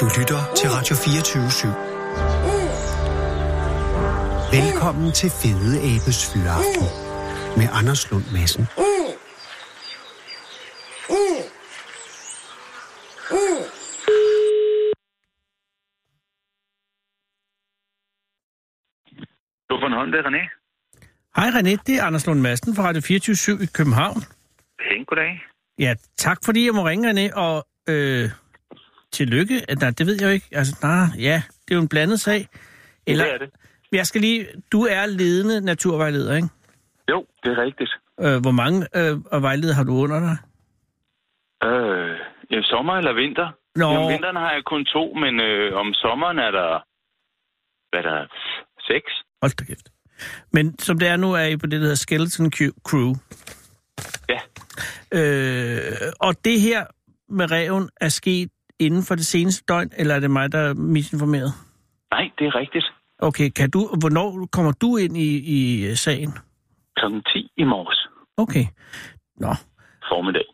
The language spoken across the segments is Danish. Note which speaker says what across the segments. Speaker 1: Du lytter til Radio 24 /7. Velkommen til Fede Abes Fyraften med Anders Lund Madsen.
Speaker 2: Du er Bornholm, det er René.
Speaker 3: Hej René, det er Anders Lund Madsen fra Radio 24 i København.
Speaker 2: Hej, goddag.
Speaker 3: Ja, tak fordi jeg må ringe, René, og øh, tillykke. Nej, det ved jeg jo ikke. Altså, nej, ja, det er jo en blandet sag. Eller,
Speaker 2: Det er det.
Speaker 3: Jeg skal lige, du er ledende naturvejleder, ikke?
Speaker 2: Jo, det er rigtigt.
Speaker 3: Øh, hvor mange øh, og vejledere har du under dig?
Speaker 2: Øh, ja, sommer eller vinter?
Speaker 3: Nå.
Speaker 2: Om vinteren har jeg kun to, men øh, om sommeren er der... Hvad er der? Seks?
Speaker 3: Hold da kæft. Men som det er nu, er I på det, der hedder Skeleton Cu- Crew.
Speaker 2: Ja.
Speaker 3: Øh, og det her med reven er sket inden for det seneste døgn, eller er det mig, der er misinformeret?
Speaker 2: Nej, det er rigtigt.
Speaker 3: Okay, kan du, hvornår kommer du ind i, i øh, sagen?
Speaker 2: Klokken 10 i morges
Speaker 3: Okay. Nå.
Speaker 2: formiddag.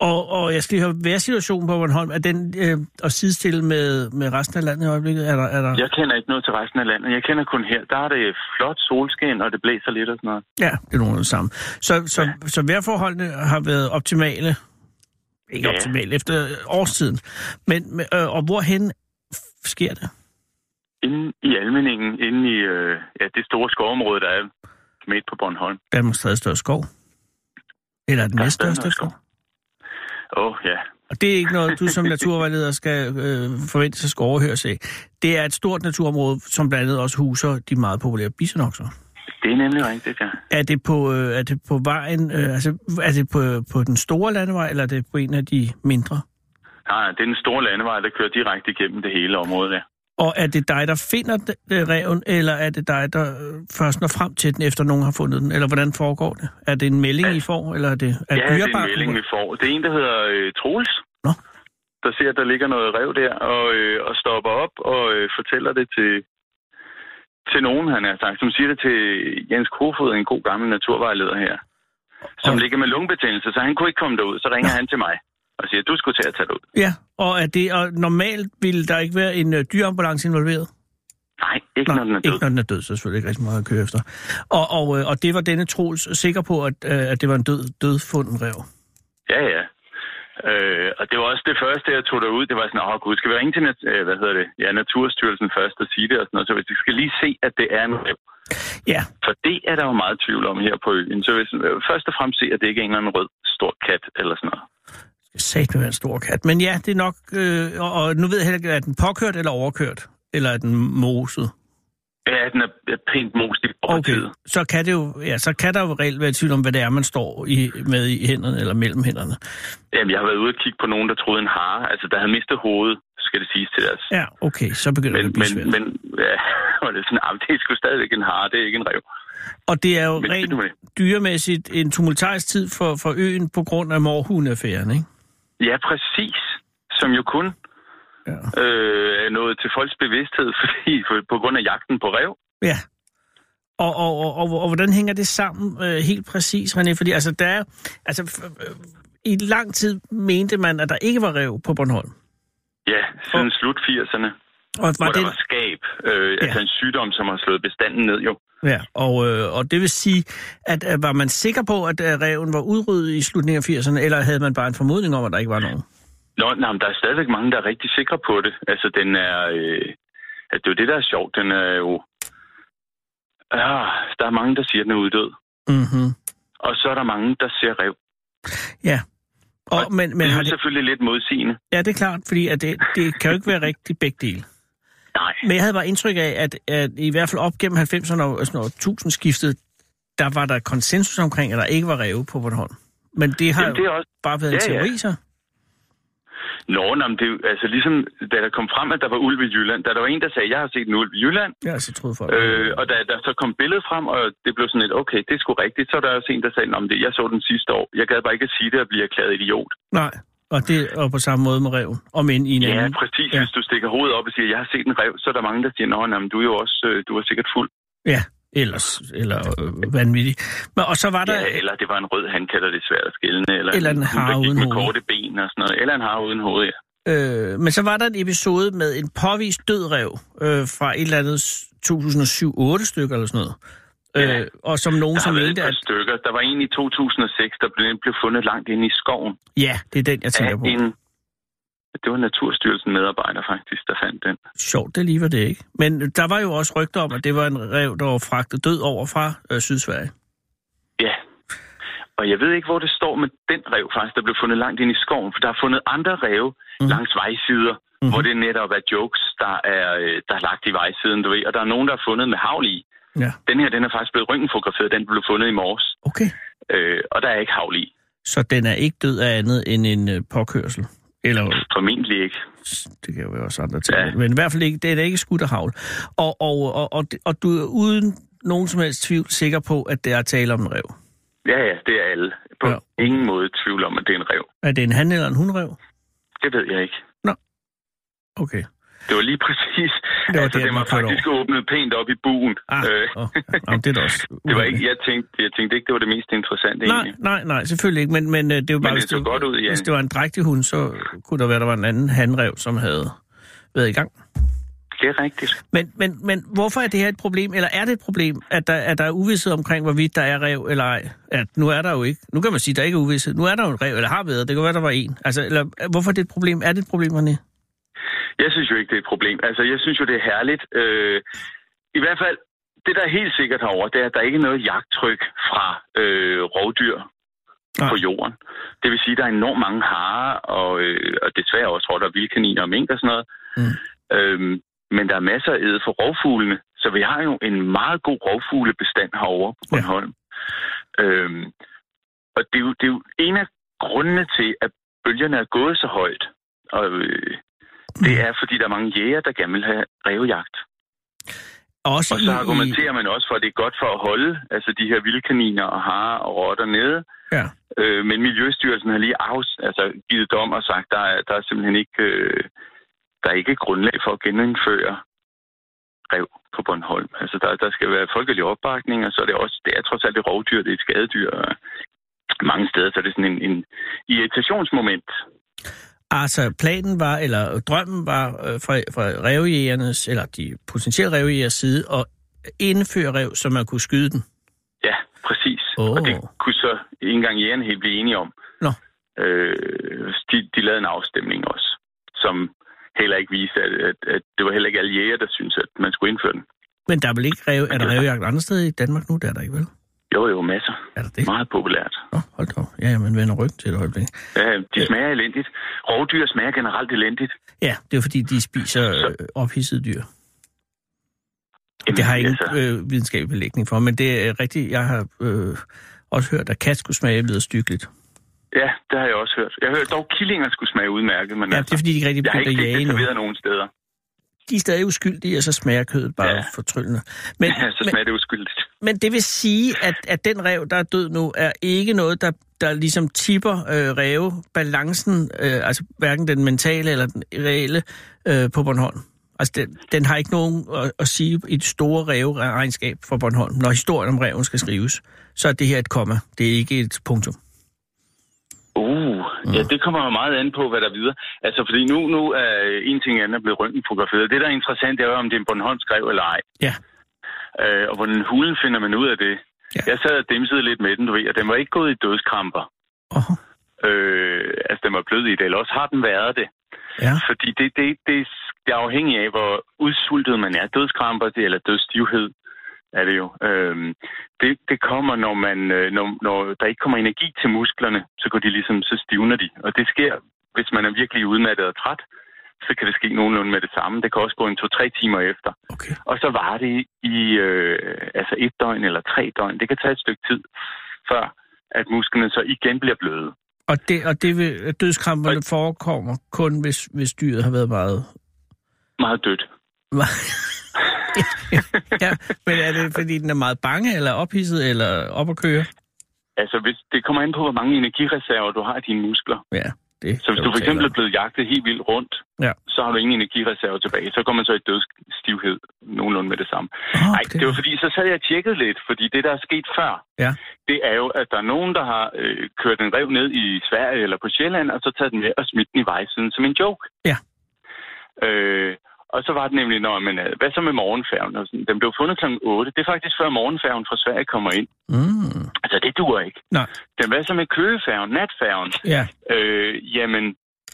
Speaker 3: Og, og jeg skal lige høre, hvad er situationen på Bornholm? Er den øh, at sidestille med, med resten af landet i øjeblikket? Er der, er der...
Speaker 2: Jeg kender ikke noget til resten af landet. Jeg kender kun her. Der er det flot solskin, og det blæser lidt og sådan noget.
Speaker 3: Ja, det er nogen af det samme. Så, så, ja. så vejrforholdene har været optimale, ikke ja.
Speaker 2: Ja.
Speaker 3: optimale, efter årstiden. Men, men, øh, og hvorhen f- sker det?
Speaker 2: Inde i Almeningen, inde i øh, ja, det store skovområde, der er midt på Bornholm.
Speaker 3: Danmarks tredje største skov? Eller den
Speaker 2: Der er
Speaker 3: næststørste
Speaker 2: Danmarks
Speaker 3: skov?
Speaker 2: Åh, oh, ja.
Speaker 3: Og det er ikke noget, du som naturvejleder skal øh, forvente sig skal overhøre sig. Det er et stort naturområde, som blandt andet også huser de meget populære bisonokser.
Speaker 2: Det er nemlig rigtigt, ja.
Speaker 3: Er det på, øh, er det på vejen, øh, altså er det på, på den store landevej, eller er det på en af de mindre?
Speaker 2: Nej, nej, det er den store landevej, der kører direkte igennem det hele område der.
Speaker 3: Og er det dig, der finder d- øh, reven, eller er det dig, der øh, først når frem til den, efter nogen har fundet den? Eller hvordan foregår det? Er det en melding, I får, eller er det
Speaker 2: Ja,
Speaker 3: er
Speaker 2: det er en
Speaker 3: dyreparken-
Speaker 2: melding, vi får. Det er en, der hedder øh, Troels,
Speaker 3: Nå.
Speaker 2: der ser, at der ligger noget rev der, og, øh, og stopper op og øh, fortæller det til, til nogen, han har sagt, som siger det til Jens Kofod, en god gammel naturvejleder her, som
Speaker 3: Og-
Speaker 2: ligger med lungebetændelse, så han kunne ikke komme derud. Så ringer han til mig og siger, du skulle til at tage derud.
Speaker 3: Ja, og, er det, og normalt vil der ikke være en øh, dyreambulance involveret?
Speaker 2: Nej, ikke når den er
Speaker 3: ikke
Speaker 2: død.
Speaker 3: når den er død, så er der selvfølgelig ikke rigtig meget at køre efter. Og, og, øh, og det var denne Troels sikker på, at, øh, at det var en død, dødfunden rev.
Speaker 2: Ja, ja. Øh, og det var også det første, jeg tog derud. Det var sådan, åh gud, skal vi ringe til nat- øh, hvad hedder det? Ja, Naturstyrelsen først og sige det og sådan noget. Så hvis vi skal lige se, at det er en rev.
Speaker 3: Ja,
Speaker 2: For det er der jo meget tvivl om her på øen. Så hvis øh, først og fremmest se, at det ikke er en eller anden rød stor kat eller sådan noget.
Speaker 3: sat med en stor kat. Men ja, det er nok... Øh, og, og nu ved jeg heller ikke, er den påkørt eller overkørt? Eller er den moset?
Speaker 2: Ja, den er er pænt most i
Speaker 3: Okay,
Speaker 2: overtid.
Speaker 3: så kan, det jo, ja, så kan der jo reelt være tvivl om, hvad det er, man står i, med i hænderne eller mellem hænderne.
Speaker 2: Jamen, jeg har været ude og kigge på nogen, der troede en hare. Altså, der havde mistet hovedet, skal det siges til deres.
Speaker 3: Ja, okay, så begynder
Speaker 2: Men,
Speaker 3: det at blive
Speaker 2: men,
Speaker 3: svært.
Speaker 2: men, ja, og det er sådan, ah, det er sgu stadigvæk en hare, det er ikke en rev.
Speaker 3: og det er jo
Speaker 2: Men
Speaker 3: rent
Speaker 2: det, det.
Speaker 3: dyremæssigt en tumultarisk tid for, for øen på grund af morhundeaffæren, ikke?
Speaker 2: Ja, præcis. Som jo kun
Speaker 3: Ja.
Speaker 2: øh, er nået til folks bevidsthed, fordi for, på grund af jagten på rev.
Speaker 3: Ja. Og, og, og, og, og hvordan hænger det sammen øh, helt præcis, René? Fordi altså, der er, altså, f- øh, i lang tid mente man, at der ikke var rev på Bornholm.
Speaker 2: Ja, siden slut 80'erne,
Speaker 3: Og, var
Speaker 2: hvor der
Speaker 3: det,
Speaker 2: var skab. Øh, ja. Altså en sygdom, som har slået bestanden ned jo.
Speaker 3: ja, og, øh, og det vil sige, at øh, var man sikker på, at øh, reven var udryddet i slutningen af 80'erne, eller havde man bare en formodning om, at der ikke var nogen?
Speaker 2: Nå, nej, men der er stadigvæk mange, der er rigtig sikre på det. Altså, den er... Øh, altså, det er jo det, der er sjovt. Den er jo... Ah, der er mange, der siger, at den er uddød.
Speaker 3: Mm-hmm.
Speaker 2: Og så er der mange, der ser rev.
Speaker 3: Ja. Og, men,
Speaker 2: Men
Speaker 3: men
Speaker 2: det
Speaker 3: har
Speaker 2: er
Speaker 3: det,
Speaker 2: selvfølgelig lidt modsigende.
Speaker 3: ja, det er klart, fordi at det, det kan jo ikke være rigtigt begge dele.
Speaker 2: Nej.
Speaker 3: Men jeg havde bare indtryk af, at, at i hvert fald op gennem 90'erne og sådan noget, tusindskiftet, der var der konsensus omkring, at der ikke var ræve på Bornholm. Men det har
Speaker 2: Jamen, det
Speaker 3: jo
Speaker 2: er også...
Speaker 3: bare været en
Speaker 2: ja, ja.
Speaker 3: teori, så.
Speaker 2: Nå, nå, men det er jo... Altså, ligesom da der kom frem, at der var ulv i Jylland, da der var en, der sagde, jeg har set en ulv i Jylland,
Speaker 3: Ja, så troede folk.
Speaker 2: øh, og da der så kom billedet frem, og det blev sådan et, okay, det er sgu rigtigt, så er der også en, der sagde, om det, jeg så den sidste år. Jeg gad bare ikke at sige det og blive erklæret idiot.
Speaker 3: Nej, og det og på samme måde med reven, om end i en
Speaker 2: Ja,
Speaker 3: anden.
Speaker 2: præcis.
Speaker 3: Ja.
Speaker 2: Ja. Hvis du stikker hovedet op og siger, jeg har set en rev, så er der mange, der siger, nå, jamen, du er jo også, øh, du er sikkert fuld.
Speaker 3: Ja, ellers, eller øh, vanvittig. Men, og så var der...
Speaker 2: Ja, eller det var en rød handkat, og det er svært at skille. Eller,
Speaker 3: Eller en hare
Speaker 2: der gik
Speaker 3: uden
Speaker 2: med
Speaker 3: hoved.
Speaker 2: korte ben og sådan noget. Eller en har uden hoved, ja.
Speaker 3: Øh, men så var der en episode med en påvist død ræv øh, fra et eller andet 2007-8 stykker eller sådan noget.
Speaker 2: Ja.
Speaker 3: Øh, og som nogen,
Speaker 2: Der har
Speaker 3: som
Speaker 2: været et
Speaker 3: mente,
Speaker 2: par
Speaker 3: at...
Speaker 2: stykker. Der var en i 2006, der blev, blev fundet langt inde i skoven
Speaker 3: Ja, det er den, jeg
Speaker 2: af
Speaker 3: tænker på.
Speaker 2: en... Det var Naturstyrelsen medarbejder faktisk, der fandt den.
Speaker 3: Sjovt, det lige var det ikke. Men der var jo også rygter om, at det var en rev, der var fragtet død over fra øh, Sydsverige.
Speaker 2: Ja. Og jeg ved ikke, hvor det står med den rev faktisk, der blev fundet langt ind i skoven, for der er fundet andre ræve mm. langs vejsider, mm.
Speaker 3: Mm-hmm.
Speaker 2: hvor det netop er jokes, der er, øh, der er lagt i vejsiden, du ved. Og der er nogen, der er fundet med havl i.
Speaker 3: Ja,
Speaker 2: Den her, den er faktisk blevet røntgenfotograferet, den blev fundet i morges.
Speaker 3: okay.
Speaker 2: Øh, og der er ikke havl i.
Speaker 3: Så den er ikke død af andet end en øh, påkørsel. Eller
Speaker 2: Formentlig ikke.
Speaker 3: det kan jo også andre ting. Ja.
Speaker 2: Ja.
Speaker 3: Men i hvert fald ikke, det er da ikke skudt og havl. Og, og, og, og, og du er uden nogen som helst tvivl sikker på, at det er tale om en rev.
Speaker 2: Ja, ja, det er alle. På
Speaker 3: Ja.
Speaker 2: ja. ingen måde i tvivl om, at det er en rev.
Speaker 3: Er det en han eller en hundrev?
Speaker 2: Det ved jeg ikke.
Speaker 3: Okay.
Speaker 2: Det var lige præcis.
Speaker 3: Det var
Speaker 2: altså,
Speaker 3: der,
Speaker 2: det
Speaker 3: den
Speaker 2: var
Speaker 3: var kørt
Speaker 2: faktisk åbnet pænt op i buen.
Speaker 3: Ah, øh. oh, jamen, det er da også
Speaker 2: det var
Speaker 3: uheldigt.
Speaker 2: ikke, jeg, tænkte, jeg tænkte ikke, det var det mest interessante
Speaker 3: Nej,
Speaker 2: egentlig.
Speaker 3: nej, nej, selvfølgelig ikke, men, men øh, det var bare,
Speaker 2: det
Speaker 3: hvis
Speaker 2: så godt ud, ja.
Speaker 3: hvis det var en drægtig hund, så kunne der være, der var en anden handrev, som havde været i gang.
Speaker 2: Det er rigtigt.
Speaker 3: Men, men, men hvorfor er det her et problem, eller er det et problem, at der, at der er uvidshed omkring, hvorvidt der er rev eller ej? At nu er der jo ikke. Nu kan man sige, at der ikke er uvidshed. Nu er der jo en rev, eller har været, det kan være, der var en. Altså, eller, øh, hvorfor er det et problem? Er det et problem, René?
Speaker 2: Jeg synes jo ikke, det er et problem. Altså, jeg synes jo, det er herligt. Øh, I hvert fald, det der er helt sikkert herover, det er, at der ikke er noget jagttryk fra øh, rovdyr
Speaker 3: Nej.
Speaker 2: på jorden. Det vil sige, at der er enormt mange harer, og, øh, og desværre også, tror jeg, der er vildkaniner og mink og sådan noget.
Speaker 3: Mm.
Speaker 2: Mm. Øhm, men der er masser af æde for rovfuglene, så vi har jo en meget god rovfuglebestand herovre på
Speaker 3: Ja.
Speaker 2: Bornholm. Ja. Øhm, og det er, jo, det er jo en af grundene til, at bølgerne er gået så højt. Og, øh, det er, fordi der er mange jæger, der gerne vil have revjagt.
Speaker 3: Også
Speaker 2: Og så
Speaker 3: i-
Speaker 2: argumenterer man også for, at det er godt for at holde altså de her vilde kaniner og harer og rotter nede.
Speaker 3: Ja.
Speaker 2: Øh, men Miljøstyrelsen har lige afs, altså, givet dom og sagt, der er, der er simpelthen ikke, øh, der er ikke grundlag for at genindføre rev på Bornholm. Altså, der, der skal være folkelig opbakning, og så er det også, det er trods alt et rovdyr, det er et skadedyr. og Mange steder, så er det sådan en, en irritationsmoment.
Speaker 3: Altså, planen var, eller drømmen var øh, fra, fra revjægernes, eller de potentielle revjægers side, at indføre rev, så man kunne skyde den.
Speaker 2: Ja, præcis.
Speaker 3: Åh.
Speaker 2: Oh. Og det kunne så ikke engang jægerne helt blive enige om.
Speaker 3: Nå.
Speaker 2: Øh, de, de lavede en afstemning også, som heller ikke viste, at, at, at det var heller ikke alle jæger, der syntes, at man skulle indføre den.
Speaker 3: Men der er vel ikke rev, er der revjagt andre steder i Danmark nu? Der er der ikke, vel?
Speaker 2: Jo, jo, masser.
Speaker 3: Er der det?
Speaker 2: Meget populært.
Speaker 3: Nå, hold da op. Ja, man vender ryggen til et øjeblik.
Speaker 2: Ja, de smager elendigt. Rovdyr smager generelt elendigt.
Speaker 3: Ja, det er jo fordi, de spiser øh, ophidsede dyr.
Speaker 2: Jamen,
Speaker 3: Det har jeg
Speaker 2: altså,
Speaker 3: ingen øh, videnskabelig belægning for, men det er rigtigt. Jeg har øh, også hørt, at kat skulle smage lidt stykkeligt.
Speaker 2: Ja, det har jeg også hørt. Jeg har hørt dog, killinger skulle smage udmærket, men
Speaker 3: Ja, det
Speaker 2: altså,
Speaker 3: er fordi, de ikke rigtig
Speaker 2: jeg har
Speaker 3: begyndte
Speaker 2: ikke
Speaker 3: at
Speaker 2: set
Speaker 3: jage
Speaker 2: det
Speaker 3: nu.
Speaker 2: serveret nogen steder.
Speaker 3: De er stadig uskyldige, og så smager kødet bare ja.
Speaker 2: Ja.
Speaker 3: fortryllende. Men,
Speaker 2: Ja, så
Speaker 3: men,
Speaker 2: smager det uskyldigt.
Speaker 3: men det vil sige, at, at den rev, der er død nu, er ikke noget, der, der ligesom tipper øh, rævebalancen, øh, altså hverken den mentale eller den reelle, øh, på Bornholm. Altså, den, den har ikke nogen at, at sige i det store ræveregnskab for Bornholm. Når historien om ræven skal skrives, så er det her et komma. Det er ikke et punktum.
Speaker 2: Uh, ja, det kommer jo meget an på, hvad der er videre. Altså, fordi nu, nu er en ting andet blevet røntgenfotograferet. Det, der er interessant, det er jo, om det er en Bornholmsk skrev eller ej.
Speaker 3: Ja.
Speaker 2: Øh, og hvordan hulen finder man ud af det?
Speaker 3: Ja.
Speaker 2: Ja. Jeg sad og dimsede lidt med den, du ved, og den var ikke gået i dødskramper.
Speaker 3: Åh,
Speaker 2: Øh, altså, den var blød i det, eller også har den været det.
Speaker 3: ja.
Speaker 2: Fordi det, det, det, det er afhængig af, hvor udsultet man er. Dødskramper, det, eller dødstivhed, er det jo. Øhm, det, det kommer, når, man, øh, når, når der ikke kommer energi til musklerne, så går de ligesom, så stivner de. Og det sker, hvis man er virkelig udmattet og træt, så kan det ske nogenlunde med det samme. Det kan også gå en to-tre timer efter.
Speaker 3: Okay.
Speaker 2: Og så var det i øh, altså et døgn eller tre døgn. Det kan tage et stykke tid, før at musklerne så igen bliver bløde.
Speaker 3: Og, det, og det vil, dødskramperne forekommer kun, hvis, hvis dyret har været meget...
Speaker 2: Meget dødt.
Speaker 3: ja, men er det, fordi den er meget bange, eller ophidset, eller op at køre?
Speaker 2: Altså, hvis, det kommer an på, hvor mange energireserver du har i dine muskler.
Speaker 3: Ja. Det,
Speaker 2: Så hvis
Speaker 3: kan
Speaker 2: du for
Speaker 3: tale
Speaker 2: eksempel
Speaker 3: om.
Speaker 2: er blevet jagtet helt vildt rundt,
Speaker 3: Ja.
Speaker 2: så har du ingen energireserve tilbage. Så går man så i dødsstivhed nogenlunde med det samme.
Speaker 3: Åh,
Speaker 2: Nej, det var fordi, så sad jeg og tjekkede lidt, fordi det, der er sket før,
Speaker 3: Ja.
Speaker 2: det er jo, at der er nogen, der har øh, kørt en rev ned i Sverige eller på Sjælland, og så taget den med og smidt den i vejsiden som en joke.
Speaker 3: Ja.
Speaker 2: Øh, og så var det nemlig, Nå, men, øh, hvad så med morgenfærgen? Og sådan, den blev fundet kl. 8. Det er faktisk før morgenfærgen fra Sverige kommer ind.
Speaker 3: Mm.
Speaker 2: Altså, det duer ikke.
Speaker 3: Nej.
Speaker 2: Den, hvad så med køgefærgen, natfærgen?
Speaker 3: Ja,
Speaker 2: Øh, jamen,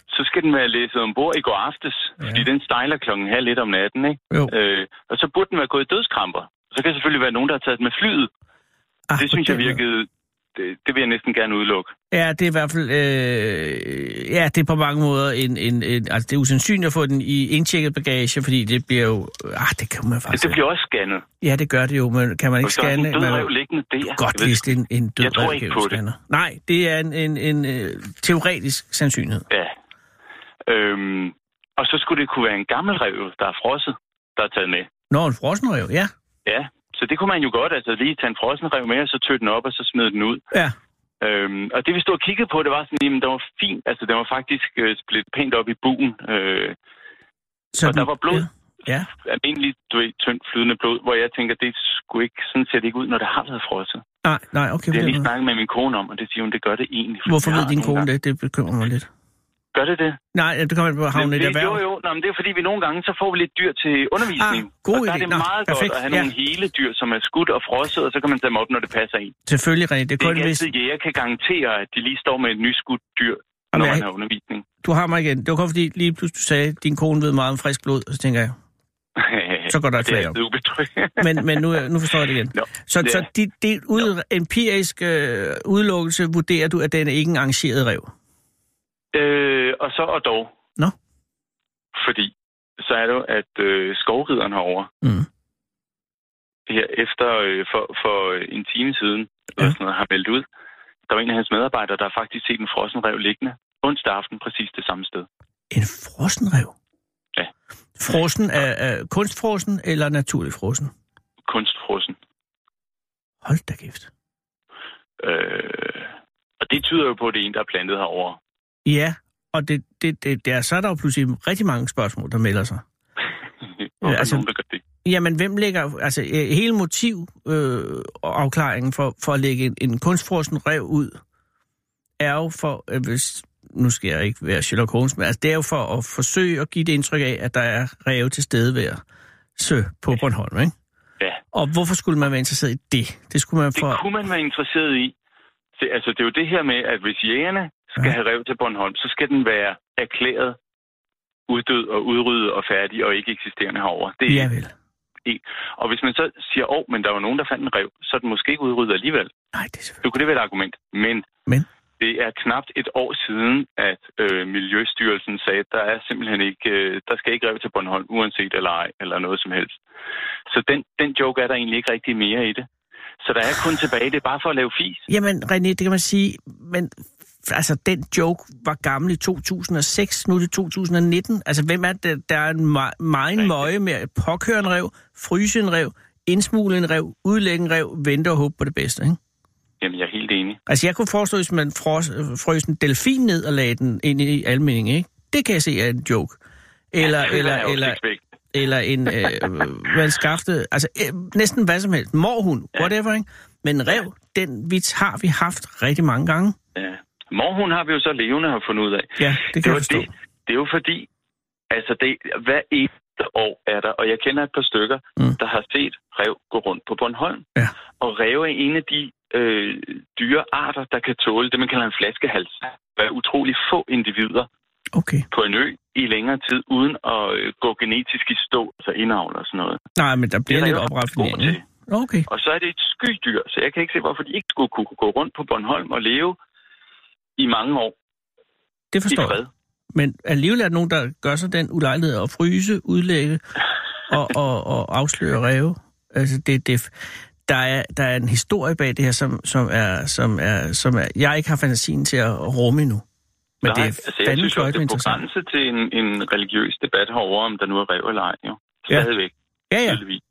Speaker 2: så skal den være læsset ombord i går aftes,
Speaker 3: Ja.
Speaker 2: ja. fordi den stejler klokken halv lidt om natten, ikke?
Speaker 3: jo.
Speaker 2: Øh, og så burde den være gået i dødskramper. Så kan selvfølgelig være nogen, der har taget den med flyet.
Speaker 3: Ah,
Speaker 2: det
Speaker 3: på
Speaker 2: synes jeg
Speaker 3: den måde.
Speaker 2: virkede... Det, det vil jeg næsten gerne udelukke.
Speaker 3: Ja, det er i hvert fald... Øh, ja, det er på mange måder en, en, en... Altså, det er usandsynligt at få den i indtjekket bagage, fordi det bliver jo... Ah, det kan man
Speaker 2: Altså,
Speaker 3: faktisk...
Speaker 2: det bliver også scannet.
Speaker 3: Ja, det gør det jo, men kan man ikke
Speaker 2: Og så er
Speaker 3: scanne...
Speaker 2: den død
Speaker 3: man-
Speaker 2: rev liggende der.
Speaker 3: Godt
Speaker 2: Jeg ved-
Speaker 3: hvis det er en, en død
Speaker 2: Jeg tror
Speaker 3: rev,
Speaker 2: ikke
Speaker 3: kan
Speaker 2: på det.
Speaker 3: scanner. Nej, det er en, en, en øh, teoretisk sandsynlighed.
Speaker 2: Ja. Øhm, og så skulle det kunne være en gammel rev, der er frosset, der er taget med.
Speaker 3: Nå, en frossen rev, ja.
Speaker 2: Ja, så det kunne man jo godt, altså lige tage en frossen rev med, og så tøtte den op, og så smide den ud.
Speaker 3: Ja,
Speaker 2: Øhm, og det vi stod og kiggede på, det var sådan, jamen, den var fint. Altså, den var faktisk øh, splittet pænt op i buen. Øh,
Speaker 3: så
Speaker 2: Og der
Speaker 3: den-
Speaker 2: var blod.
Speaker 3: Ja,
Speaker 2: almindelig, du ved, tyndt flydende blod, hvor jeg tænker, det skulle ikke, sådan ser det ikke ud, når det har været frosset.
Speaker 3: nej, nej, okay.
Speaker 2: Det har jeg
Speaker 3: på den
Speaker 2: lige
Speaker 3: måde.
Speaker 2: snakket med min kone om, og det siger hun, det gør det egentlig. fordi
Speaker 3: Hvorfor
Speaker 2: det
Speaker 3: ved
Speaker 2: har
Speaker 3: din
Speaker 2: nogle
Speaker 3: kone
Speaker 2: gange-
Speaker 3: det? Det bekymrer mig lidt.
Speaker 2: Gør det det?
Speaker 3: Nej, ja, det kommer an på havnen
Speaker 2: Jamen,
Speaker 3: i et
Speaker 2: det,
Speaker 3: erhverv.
Speaker 2: jo, jo. Nå, men det er fordi, vi nogle gange, så får vi lidt dyr til undervisning.
Speaker 3: Ah, god
Speaker 2: og der
Speaker 3: idé.
Speaker 2: er det
Speaker 3: Nå,
Speaker 2: meget
Speaker 3: perfekt.
Speaker 2: godt at have
Speaker 3: Ja.
Speaker 2: nogle hele dyr, som er skudt og frosset, og så kan man tage dem op, når det passer ind.
Speaker 3: Selvfølgelig, René. Det er
Speaker 2: Det er
Speaker 3: kun
Speaker 2: ikke
Speaker 3: hvis...
Speaker 2: altid, jæger kan garantere, at de lige står med et nyskudt dyr, når
Speaker 3: jeg-
Speaker 2: man har undervisning.
Speaker 3: Du har mig igen. Det var kun fordi, lige pludselig du sagde, at din kone ved meget om frisk blod, og så tænker jeg, så går der et
Speaker 2: det er
Speaker 3: flag op.
Speaker 2: altid ubetrygt.
Speaker 3: Men, men nu, er- nu forstår jeg det igen.
Speaker 2: Nå,
Speaker 3: Så,
Speaker 2: det
Speaker 3: så
Speaker 2: er-
Speaker 3: det, det ud, empirisk øh, udelukkelse vurderer du, at den er ikke en arrangeret rev.
Speaker 2: Øh, og så og dog.
Speaker 3: Nå.
Speaker 2: Fordi så er det jo, at øh, skovrideren herovre,
Speaker 3: Mm.
Speaker 2: her efter øh, for, for en time siden, ja.
Speaker 3: Ja.
Speaker 2: eller sådan noget, har meldt ud, der var en af hans medarbejdere, der har faktisk set en frossen rev liggende onsdag aften præcis det samme sted.
Speaker 3: En frossen rev?
Speaker 2: Ja.
Speaker 3: Frossen er, er kunstfrossen eller naturlig frossen?
Speaker 2: Kunstfrossen.
Speaker 3: Hold da kæft.
Speaker 2: Øh, og det tyder jo på, at det er en, der er plantet herovre.
Speaker 3: Ja, og det, det, det, det er, så er der jo pludselig rigtig mange spørgsmål, der melder sig.
Speaker 2: Hvorfor ja,
Speaker 3: altså-
Speaker 2: altså... nogen, der gør det?
Speaker 3: Jamen, hvem lægger... Altså, øh, hele motiv øh, og afklaringen for, for at lægge en, en kunstfrossen rev ud, er jo for... Øh, hvis, nu skal jeg ikke være Sherlock Holmes, men altså, det er jo for at forsøge at give det indtryk af, at der er ræve til stede ved at sø på Bornholm, ikke?
Speaker 2: Ja.
Speaker 3: Og hvorfor skulle man være interesseret i det? Det skulle man
Speaker 2: Det
Speaker 3: for...
Speaker 2: kunne man være interesseret i. Det, altså, det er jo det her med, at hvis jægerne skal
Speaker 3: Ja.
Speaker 2: ja. have rev til Bornholm, så skal den være erklæret uddød og udryddet og færdig og ikke eksisterende herovre. Det er,
Speaker 3: Ja,
Speaker 2: ja.
Speaker 3: vel.
Speaker 2: Og hvis man så siger, åh, men der var nogen, der fandt en rev, så er den måske ikke udryddet alligevel.
Speaker 3: Nej, det er selvfølgelig...
Speaker 2: Så kunne det være et argument. Men,
Speaker 3: Men?
Speaker 2: det er knapt et år siden, at øh, Miljøstyrelsen sagde, at der er simpelthen ikke, øh, der skal ikke rev til Bornholm, uanset eller ej, eller noget som helst. Så den, den joke er der egentlig ikke rigtig mere i det. Så der er kun tilbage, det er bare for at lave fis.
Speaker 3: Jamen, René, det kan man sige, men altså, den joke var gammel i 2006, nu er det 2019. Altså, hvem er det, der er en me- meget møje med at påkøre en rev, fryse en rev, indsmugle en rev, udlægge en rev, vente og håbe på det bedste, ikke?
Speaker 2: Jamen, jeg er helt enig.
Speaker 3: Altså, jeg kunne forestå, hvis man fros, øh, frøs en delfin ned og lagde den ind i almeningen, ikke? Det kan jeg se er en joke. Eller,
Speaker 2: Ja, det
Speaker 3: eller,
Speaker 2: er jo
Speaker 3: eller,
Speaker 2: opsigtsvægt.
Speaker 3: eller en øh, vandskafte, altså øh, næsten hvad som helst, morhund, whatever, ikke? Men en rev, den vits har vi haft rigtig mange gange.
Speaker 2: Ja. Morhun har vi jo så levende har fundet ud af.
Speaker 3: Ja, det kan
Speaker 2: er jo
Speaker 3: jeg forstå.
Speaker 2: det, det er jo fordi, altså det, hver eneste år er der, og jeg kender et par stykker,
Speaker 3: Mm.
Speaker 2: mm. der har set rev gå rundt på Bornholm.
Speaker 3: Ja.
Speaker 2: Og rev er en af de øh, dyrearter, der kan tåle det, man kalder en flaskehals. Der er utrolig få individer
Speaker 3: Okay.
Speaker 2: på en ø i længere tid, uden at øh, gå genetisk i stå, altså indavl og sådan noget.
Speaker 3: Nej, men der bliver
Speaker 2: Det er
Speaker 3: lidt
Speaker 2: der jo
Speaker 3: opraffinering.
Speaker 2: god til.
Speaker 3: ikke? Okay.
Speaker 2: Og så er det et skydyr, så jeg kan ikke se, hvorfor de ikke skulle kunne gå rundt på Bornholm og leve i mange år
Speaker 3: Det
Speaker 2: i
Speaker 3: forstår
Speaker 2: fred.
Speaker 3: jeg. Men alligevel er der nogen, der gør sig den ulejlighed at fryse, udlægge og, og, og afsløre ræve. Altså, det, det, der, er, der er en historie bag det her, som, som, er, som, er, som er, jeg ikke har fantasien til at rumme endnu. Men det er
Speaker 2: altså, jeg
Speaker 3: fandme
Speaker 2: synes jo,
Speaker 3: fløjt
Speaker 2: det er på
Speaker 3: interessant.
Speaker 2: grænse til en, en religiøs debat herover om der nu er rev eller ej. Jo. Stadigvæk,
Speaker 3: Ja,
Speaker 2: ja.
Speaker 3: ja.
Speaker 2: tydeligvis.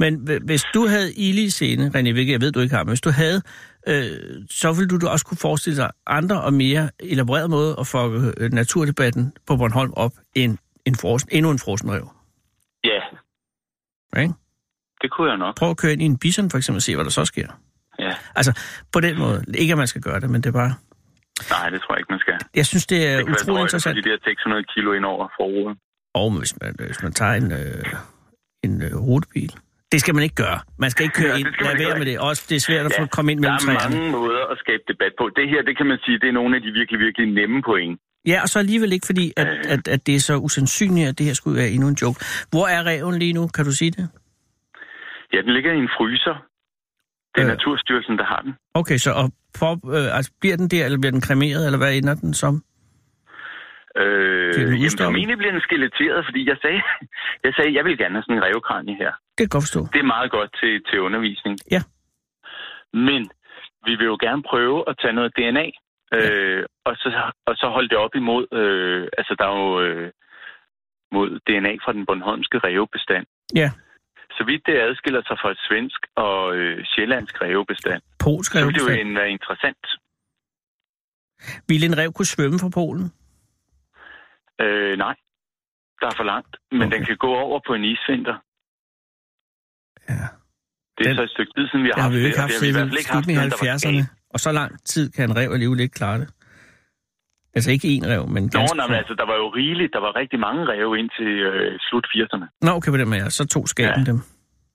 Speaker 3: Men hv- hvis du havde ild i scene, René, hvilket jeg ved, du ikke har, men hvis du havde øh, så vil du da også kunne forestille dig andre og mere elaborerede måder at få øh, naturdebatten på Bornholm op end en frosen, endnu en frosen rev.
Speaker 2: Ja,
Speaker 3: Ikke?
Speaker 2: det kunne jeg nok.
Speaker 3: Prøv at køre ind i en bison for eksempel og se, hvad der så sker.
Speaker 2: Ja.
Speaker 3: Altså, på den måde. Ikke at man skal gøre det, men det er bare...
Speaker 2: Nej, det tror jeg ikke, man skal.
Speaker 3: Jeg synes, det
Speaker 2: Det
Speaker 3: er
Speaker 2: kan være
Speaker 3: utrolig
Speaker 2: drøjt at få
Speaker 3: interessant.
Speaker 2: de der 600 kilo ind over forruden.
Speaker 3: Og hvis man, hvis man tager en, øh, en øh, rutebil. Det skal man ikke gøre. Man skal ikke køre
Speaker 2: Ja,
Speaker 3: ind.
Speaker 2: det skal man
Speaker 3: Lad
Speaker 2: ikke
Speaker 3: være
Speaker 2: gøre.
Speaker 3: med det. Også, det er svært at få
Speaker 2: Ja,
Speaker 3: komme ind
Speaker 2: Der
Speaker 3: mellem
Speaker 2: er
Speaker 3: træerne.
Speaker 2: mange måder at skabe debat på. Det her, det kan man sige, det er nogle af de virkelig, virkelig nemme point.
Speaker 3: Ja, og så alligevel ikke, fordi at,
Speaker 2: Øh.
Speaker 3: at, at det er så usandsynligt, at det her skulle være endnu en joke. Hvor er reven lige nu? Kan du sige det?
Speaker 2: Ja, den ligger i en fryser. Det er
Speaker 3: Øh.
Speaker 2: Naturstyrelsen, der har den.
Speaker 3: Okay, så og pop, øh, altså, bliver den der, eller bliver den kremeret, eller hvad ender den som?
Speaker 2: Øh,
Speaker 3: Bliver den
Speaker 2: jamen,
Speaker 3: udstoppet?
Speaker 2: formentlig bliver den skeletteret, fordi jeg sagde, jeg sagde, jeg vil gerne have sådan en revkranje her.
Speaker 3: Det kan jeg godt forstå.
Speaker 2: Det er meget godt til, til undervisning.
Speaker 3: Ja.
Speaker 2: Men vi vil jo gerne prøve at tage noget DNA, øh, og, så, og så holde det op imod, øh, altså der er jo øh, mod DNA fra den Bornholmske revebestand.
Speaker 3: Ja.
Speaker 2: Så vidt det adskiller sig fra et svensk og øh, sjællandsk revebestand,
Speaker 3: Polsk
Speaker 2: så
Speaker 3: rev.
Speaker 2: vil det jo en, være interessant.
Speaker 3: Ville en rev kunne svømme fra Polen?
Speaker 2: Øh, nej, der er for langt, men
Speaker 3: Okay.
Speaker 2: okay. den kan gå over på en isvinter.
Speaker 3: Ja.
Speaker 2: Det er
Speaker 3: Den-
Speaker 2: den, så et stykke tid siden, vi har
Speaker 3: Det har
Speaker 2: haft
Speaker 3: vi jo ikke
Speaker 2: og
Speaker 3: haft
Speaker 2: det har vi i
Speaker 3: siden
Speaker 2: hvert fald ikke haft
Speaker 3: slutningen af
Speaker 2: siden, der var
Speaker 3: 70'erne. Og så lang tid kan en rev alligevel ikke klare det. Altså ikke en rev, men
Speaker 2: Nå,
Speaker 3: ganske
Speaker 2: nej, men
Speaker 3: få.
Speaker 2: altså, der var jo rigeligt. Der var rigtig mange ræve indtil øh, slut 80'erne.
Speaker 3: Nå, okay, på den med jer. Så tog skaben
Speaker 2: Ja.
Speaker 3: dem.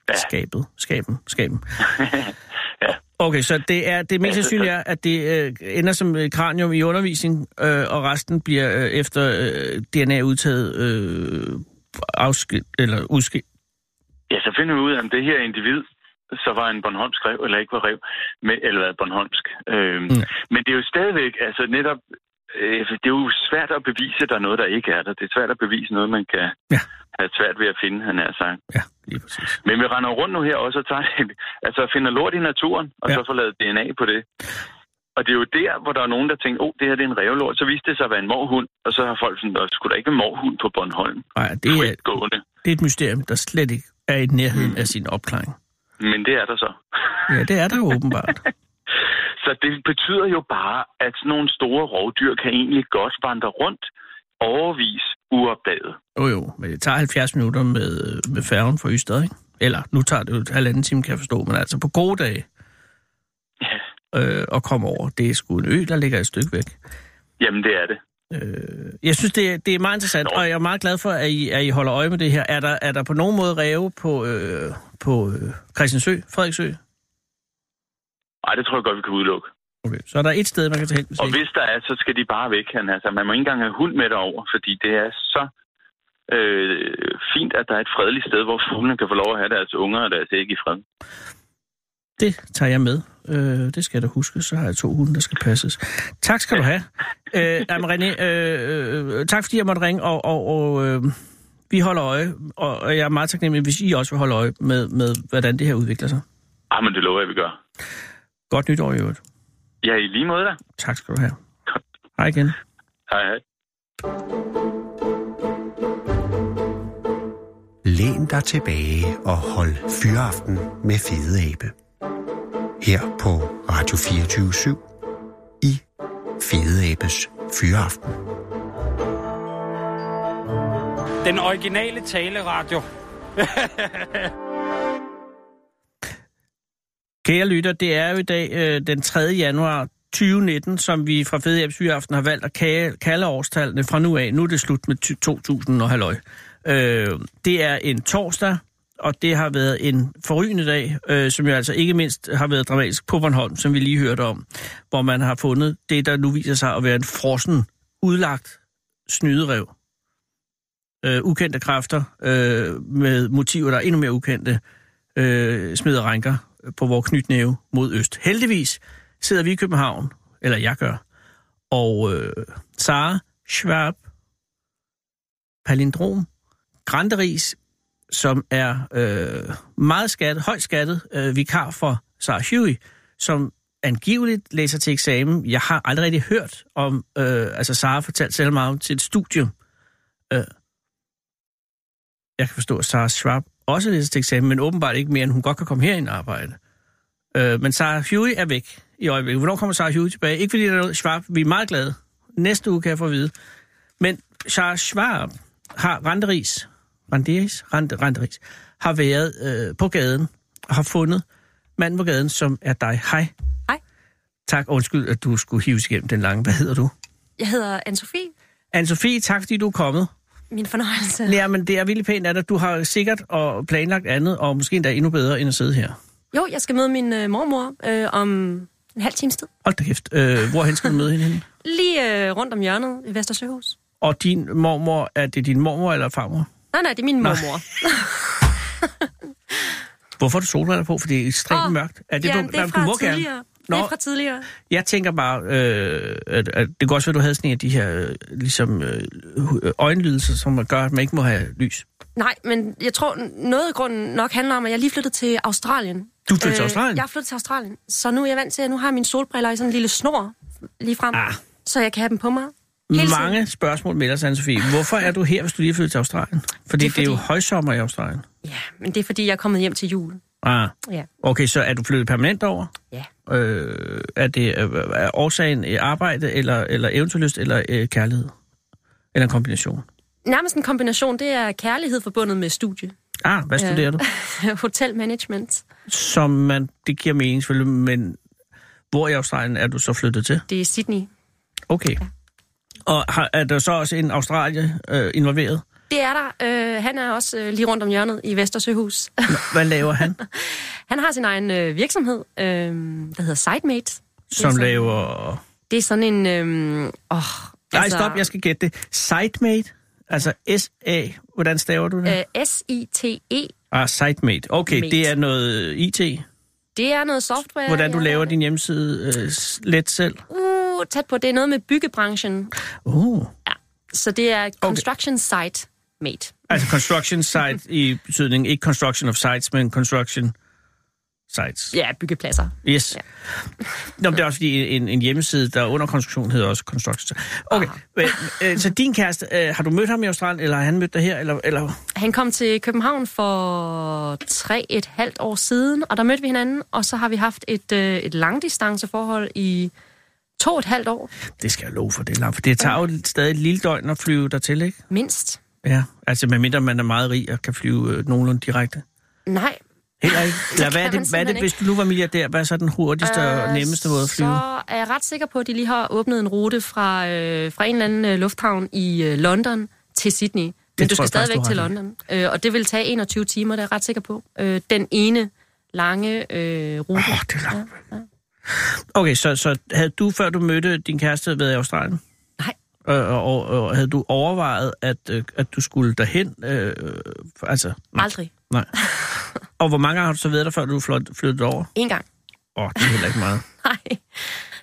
Speaker 2: Ja.
Speaker 3: Skabet, skaben, skaben.
Speaker 2: Ja.
Speaker 3: Okay, så det er det mest
Speaker 2: Ja, så-
Speaker 3: sandsynlige er, at det øh, ender som øh, kranium i undervisning, øh, og resten bliver øh, efter øh, DNA udtaget øh, afskilt, eller udskilt.
Speaker 2: Ja, så finder vi ud af, om det her individ så var en Bornholmsk rev, eller ikke var rev, men, eller var Bornholmsk. Øhm,
Speaker 3: Mm.
Speaker 2: mm. Men det er jo stadigvæk, altså netop, øh, det er jo svært at bevise, at der er noget, der ikke er der. Det er svært at bevise noget, man kan
Speaker 3: Ja.
Speaker 2: ja. have svært ved at finde, han er sagt.
Speaker 3: Ja, lige præcis.
Speaker 2: Men vi render rundt nu her også og tager, altså finder lort i naturen, og
Speaker 3: Ja.
Speaker 2: ja. så får lavet DNA på det. Og det er jo der, hvor der er nogen, der tænker, åh, oh, det her det er en revlort. Så viste det sig at være en morhund, og så har folk sådan, der skulle der ikke en morhund på Bornholm.
Speaker 3: Nej,
Speaker 2: Det
Speaker 3: det er,
Speaker 2: er gående.
Speaker 3: det er et mysterium, der slet ikke er i nærheden
Speaker 2: Mm.
Speaker 3: af sin opklaring.
Speaker 2: Men det er der så.
Speaker 3: Ja, det er der jo åbenbart.
Speaker 2: Så det betyder jo bare, at sådan nogle store rovdyr kan egentlig godt vandre rundt overvis uopdaget.
Speaker 3: Jo jo, men det tager 70 minutter med, med færgen fra Ystad, ikke? Eller, nu tager det jo et halvanden time, kan jeg forstå, men altså på gode dage øh, at komme over, det er sgu en ø, der ligger et stykke væk.
Speaker 2: Jamen, det er det.
Speaker 3: Øh, jeg synes, det er, det er meget interessant,
Speaker 2: Nå.
Speaker 3: og jeg er meget glad for, at I, at I holder øje med det her. Er der, er der på nogen måde ræve på, øh, på øh, Christiansø, Frederiksø?
Speaker 2: Ej, det tror jeg godt, vi kan udelukke.
Speaker 3: Okay, så er der et sted, man kan tage hen, hvis
Speaker 2: Og
Speaker 3: ikke.
Speaker 2: hvis der er, så skal de bare væk. Han. Altså, man må ikke engang have hund med derover, fordi det er så øh, fint, at der er et fredeligt sted, hvor fuglene kan få lov at have deres unger og deres æg i fred.
Speaker 3: Det tager jeg med. Øh, det skal jeg da huske, så har jeg to hunde, der skal passes. Tak skal du have. Øh, jamen, René, øh, øh, tak fordi jeg måtte ringe, og, og, og øh, vi holder øje, og, og jeg er meget taknemmelig, hvis I også vil holde øje med, med hvordan det her udvikler sig.
Speaker 2: Ah, men det lover jeg, vi gør.
Speaker 3: Godt nytår i øvrigt.
Speaker 2: Ja, i lige måde da.
Speaker 3: Tak skal du have. Hej igen.
Speaker 2: Hej, hej.
Speaker 1: Læn dig tilbage og hold fyraften med Fede Abe. Her på Radio 24 i Fede Abes Fyraften.
Speaker 4: Den originale taleradio.
Speaker 3: Kære lytter, det er jo i dag øh, den 3. januar 2019, som vi fra Fede Abs Fyraften har valgt at kalde, kalde årstallene fra nu af. Nu er det slut med ty- 2000 og halløj. Øh, det er en torsdag, og det har været en forrygende dag, øh, som jo altså ikke mindst har været dramatisk på Bornholm, som vi lige hørte om, hvor man har fundet det, der nu viser sig at være en frossen, udlagt snyderev. Øh, ukendte kræfter øh, med motiver, der er endnu mere ukendte, øh, smider ranker på vores knytnæve mod øst. Heldigvis sidder vi i København, eller jeg gør, og øh, Sara Schwab, palindrom, Granderis, som er øh, meget skattet, højt skattet øh, vikar for Sara Huey, som angiveligt læser til eksamen. Jeg har aldrig rigtig hørt om, øh, altså Sara fortalte selv meget om sit studium. Øh, jeg kan forstå, at Sara Schwab også læser til eksamen, men åbenbart ikke mere, end hun godt kan komme herind og arbejde. Øh, men Sara Huey er væk i øjeblikket. Hvornår kommer Sarah Hugh tilbage? Ikke fordi der er noget Schwab. Vi er meget glade. Næste uge kan jeg få at vide. Men Sarah Schwab har renteris, renteris, rente, renteris, har været øh, på gaden og har fundet manden på gaden, som er dig. Hej.
Speaker 5: Hej.
Speaker 3: Tak, undskyld, at du skulle hives igennem den lange. Hvad hedder du?
Speaker 5: Jeg hedder Anne-Sophie.
Speaker 3: Anne-Sofie, tak fordi du er kommet.
Speaker 5: Min fornøjelse.
Speaker 3: Ja, men det er virkelig pænt af dig. Du har sikkert og planlagt andet, og måske endda endnu bedre, end at sidde her.
Speaker 5: Jo, jeg skal møde min øh, mormor øh, om en halv times tid.
Speaker 3: Hold da kæft. Øh, hvorhen skal du møde hende? henne?
Speaker 5: Lige øh, rundt om hjørnet i Vestersøhus.
Speaker 3: Og din mormor, er det din mormor eller farmor?
Speaker 5: Nej, nej, det er min mormor.
Speaker 3: Hvorfor har du solbriller på? For det er ekstremt
Speaker 5: Åh,
Speaker 3: oh, mørkt. Er det
Speaker 5: Jamen,
Speaker 3: dumt?
Speaker 5: det er
Speaker 3: Nej, men
Speaker 5: fra
Speaker 3: du må gerne.
Speaker 5: tidligere.
Speaker 3: Nå.
Speaker 5: Det er fra tidligere.
Speaker 3: Jeg tænker bare, øh, at, at det kan også være, at du havde sådan en af de her øh, ligesom, øh, øjenlidelser, som gør, at man ikke må have lys.
Speaker 5: Nej, men jeg tror, noget af grunden nok handler om, at jeg lige flyttede til Australien. Øh,
Speaker 3: Du flyttede til Australien?
Speaker 5: Jeg flyttede til Australien. Så nu er jeg vant til, at nu har jeg mine solbriller i sådan en lille snor lige frem.
Speaker 3: Ah.
Speaker 5: Så jeg kan have dem på mig. Hele tiden.
Speaker 3: Mange spørgsmål melder sig, Anne-Sofie. Hvorfor er du her, hvis du lige er flyttet til Australien? Fordi det er, fordi... det er jo
Speaker 5: fordi-
Speaker 3: højsommer i Australien.
Speaker 5: Ja, men det er fordi, jeg er kommet hjem til jul.
Speaker 3: Ah.
Speaker 5: Ja.
Speaker 3: Okay, så er du flyttet permanent over?
Speaker 5: Ja.
Speaker 3: Øh, er det øh, er årsagen øh, arbejde, eller, eller eventyrlyst, eller øh, kærlighed? Eller en kombination?
Speaker 5: Nærmest en kombination, det er kærlighed forbundet med studie.
Speaker 3: Ah, hvad studerer du?
Speaker 5: Hotelmanagement.
Speaker 3: Som man, det giver mening selvfølgelig, men hvor i Australien er du så flyttet til?
Speaker 5: Det er Sydney.
Speaker 3: Okay. Og har, er der så også en Australie øh, involveret?
Speaker 5: Det er der. Øh, han er også øh, lige rundt om hjørnet i Vestersøhus.
Speaker 3: Hvad laver han,
Speaker 5: han har sin egen øh, virksomhed, øh, der hedder SiteMate.
Speaker 3: som
Speaker 5: sådan-
Speaker 3: laver...
Speaker 5: Det er sådan en... Øh, åh,
Speaker 3: Nej,
Speaker 5: Altså-
Speaker 3: stop, jeg skal gætte det. Sitemate? Altså S-A, hvordan staver du det?
Speaker 5: Øh, S-I-T-E.
Speaker 3: Ah, Sitemate. Okay,
Speaker 5: Mate.
Speaker 3: det er noget IT.
Speaker 5: Det er noget software.
Speaker 3: Hvordan du
Speaker 5: ja.
Speaker 3: laver din hjemmeside øh, s- let selv.
Speaker 5: Uh, tæt på. Det er noget med byggebranchen.
Speaker 3: Uh.
Speaker 5: Ja. Så det er Construction Site Mate.
Speaker 3: Altså construction site i betydning, ikke construction of sites, men construction sites.
Speaker 5: Ja, byggepladser.
Speaker 3: Yes. Ja. Nå, men det er også fordi en, en hjemmeside, der er under konstruktion, hedder også construction site. Okay, men, øh, så din kæreste, øh, har du mødt ham i Australien, eller har han mødt dig her? Eller, eller?
Speaker 5: Han kom til København for tre et halvt år siden, og der mødte vi hinanden, og så har vi haft et, øh, et langdistanceforhold i to og et halvt år,
Speaker 3: Det skal jeg love for, det er langt, for det tager jo stadig et lille døgn at flyve dertil, ikke?
Speaker 5: mindst.
Speaker 3: Ja, altså medmindre man er meget rig og kan flyve øh, nogenlunde direkte.
Speaker 5: Nej.
Speaker 3: Heller ikke. Eller hvad er det,
Speaker 5: kan man
Speaker 3: hvad er det
Speaker 5: simpelthen
Speaker 3: hvis du nu var milliardær, hvad er så den hurtigste øh, og
Speaker 5: Øh,
Speaker 3: nemmeste måde at flyve?
Speaker 5: Så er jeg ret sikker på, at de lige har åbnet en rute fra, øh, fra en eller anden øh, lufthavn i øh, London til Sydney. Men
Speaker 3: Det
Speaker 5: du
Speaker 3: tror
Speaker 5: skal
Speaker 3: jeg faktisk,
Speaker 5: stadigvæk
Speaker 3: du
Speaker 5: til
Speaker 3: har ret i.
Speaker 5: London, øh, og det vil tage 21 timer, det er jeg ret sikker på. Øh, den ene lange øh, rute.
Speaker 3: Åh, det er langt. Okay, så, så havde du, før du mødte din kæreste, været i Australien?
Speaker 5: Nej.
Speaker 3: Og, og, og, og havde du overvejet, at, øh, at du skulle derhen? Øh, for- altså, nej.
Speaker 5: Aldrig.
Speaker 3: nej. Og hvor mange gange har du så været der, før du flot- flyttede over?
Speaker 5: En gang.
Speaker 3: Åh, oh, det er heller ikke meget.
Speaker 5: Nej.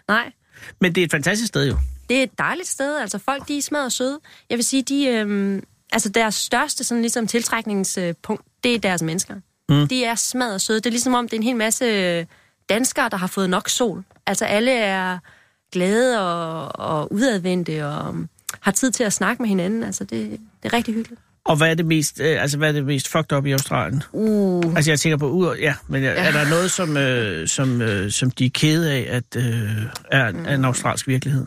Speaker 5: Nej.
Speaker 3: Men det er et fantastisk sted jo.
Speaker 5: Det er et dejligt sted. Altså, folk, de er smadret søde. Jeg vil sige, de... Øhm, altså, deres største sådan, ligesom, tiltrækningspunkt, det er deres mennesker. Mm. De er smadret søde. Det er ligesom om, det er en hel masse øh, danskere, der har fået nok sol. Altså, alle er glade og, og udadvendte og um, har tid til at snakke med hinanden. Altså, det, det er rigtig hyggeligt.
Speaker 3: Og hvad er det mest, øh, altså, hvad er det mest fucked up i Australien?
Speaker 5: Uh.
Speaker 3: Altså, jeg tænker på ud ja, men er, er der noget, som, øh, som, øh, som de er kede af, at øh, er, er en australsk virkelighed?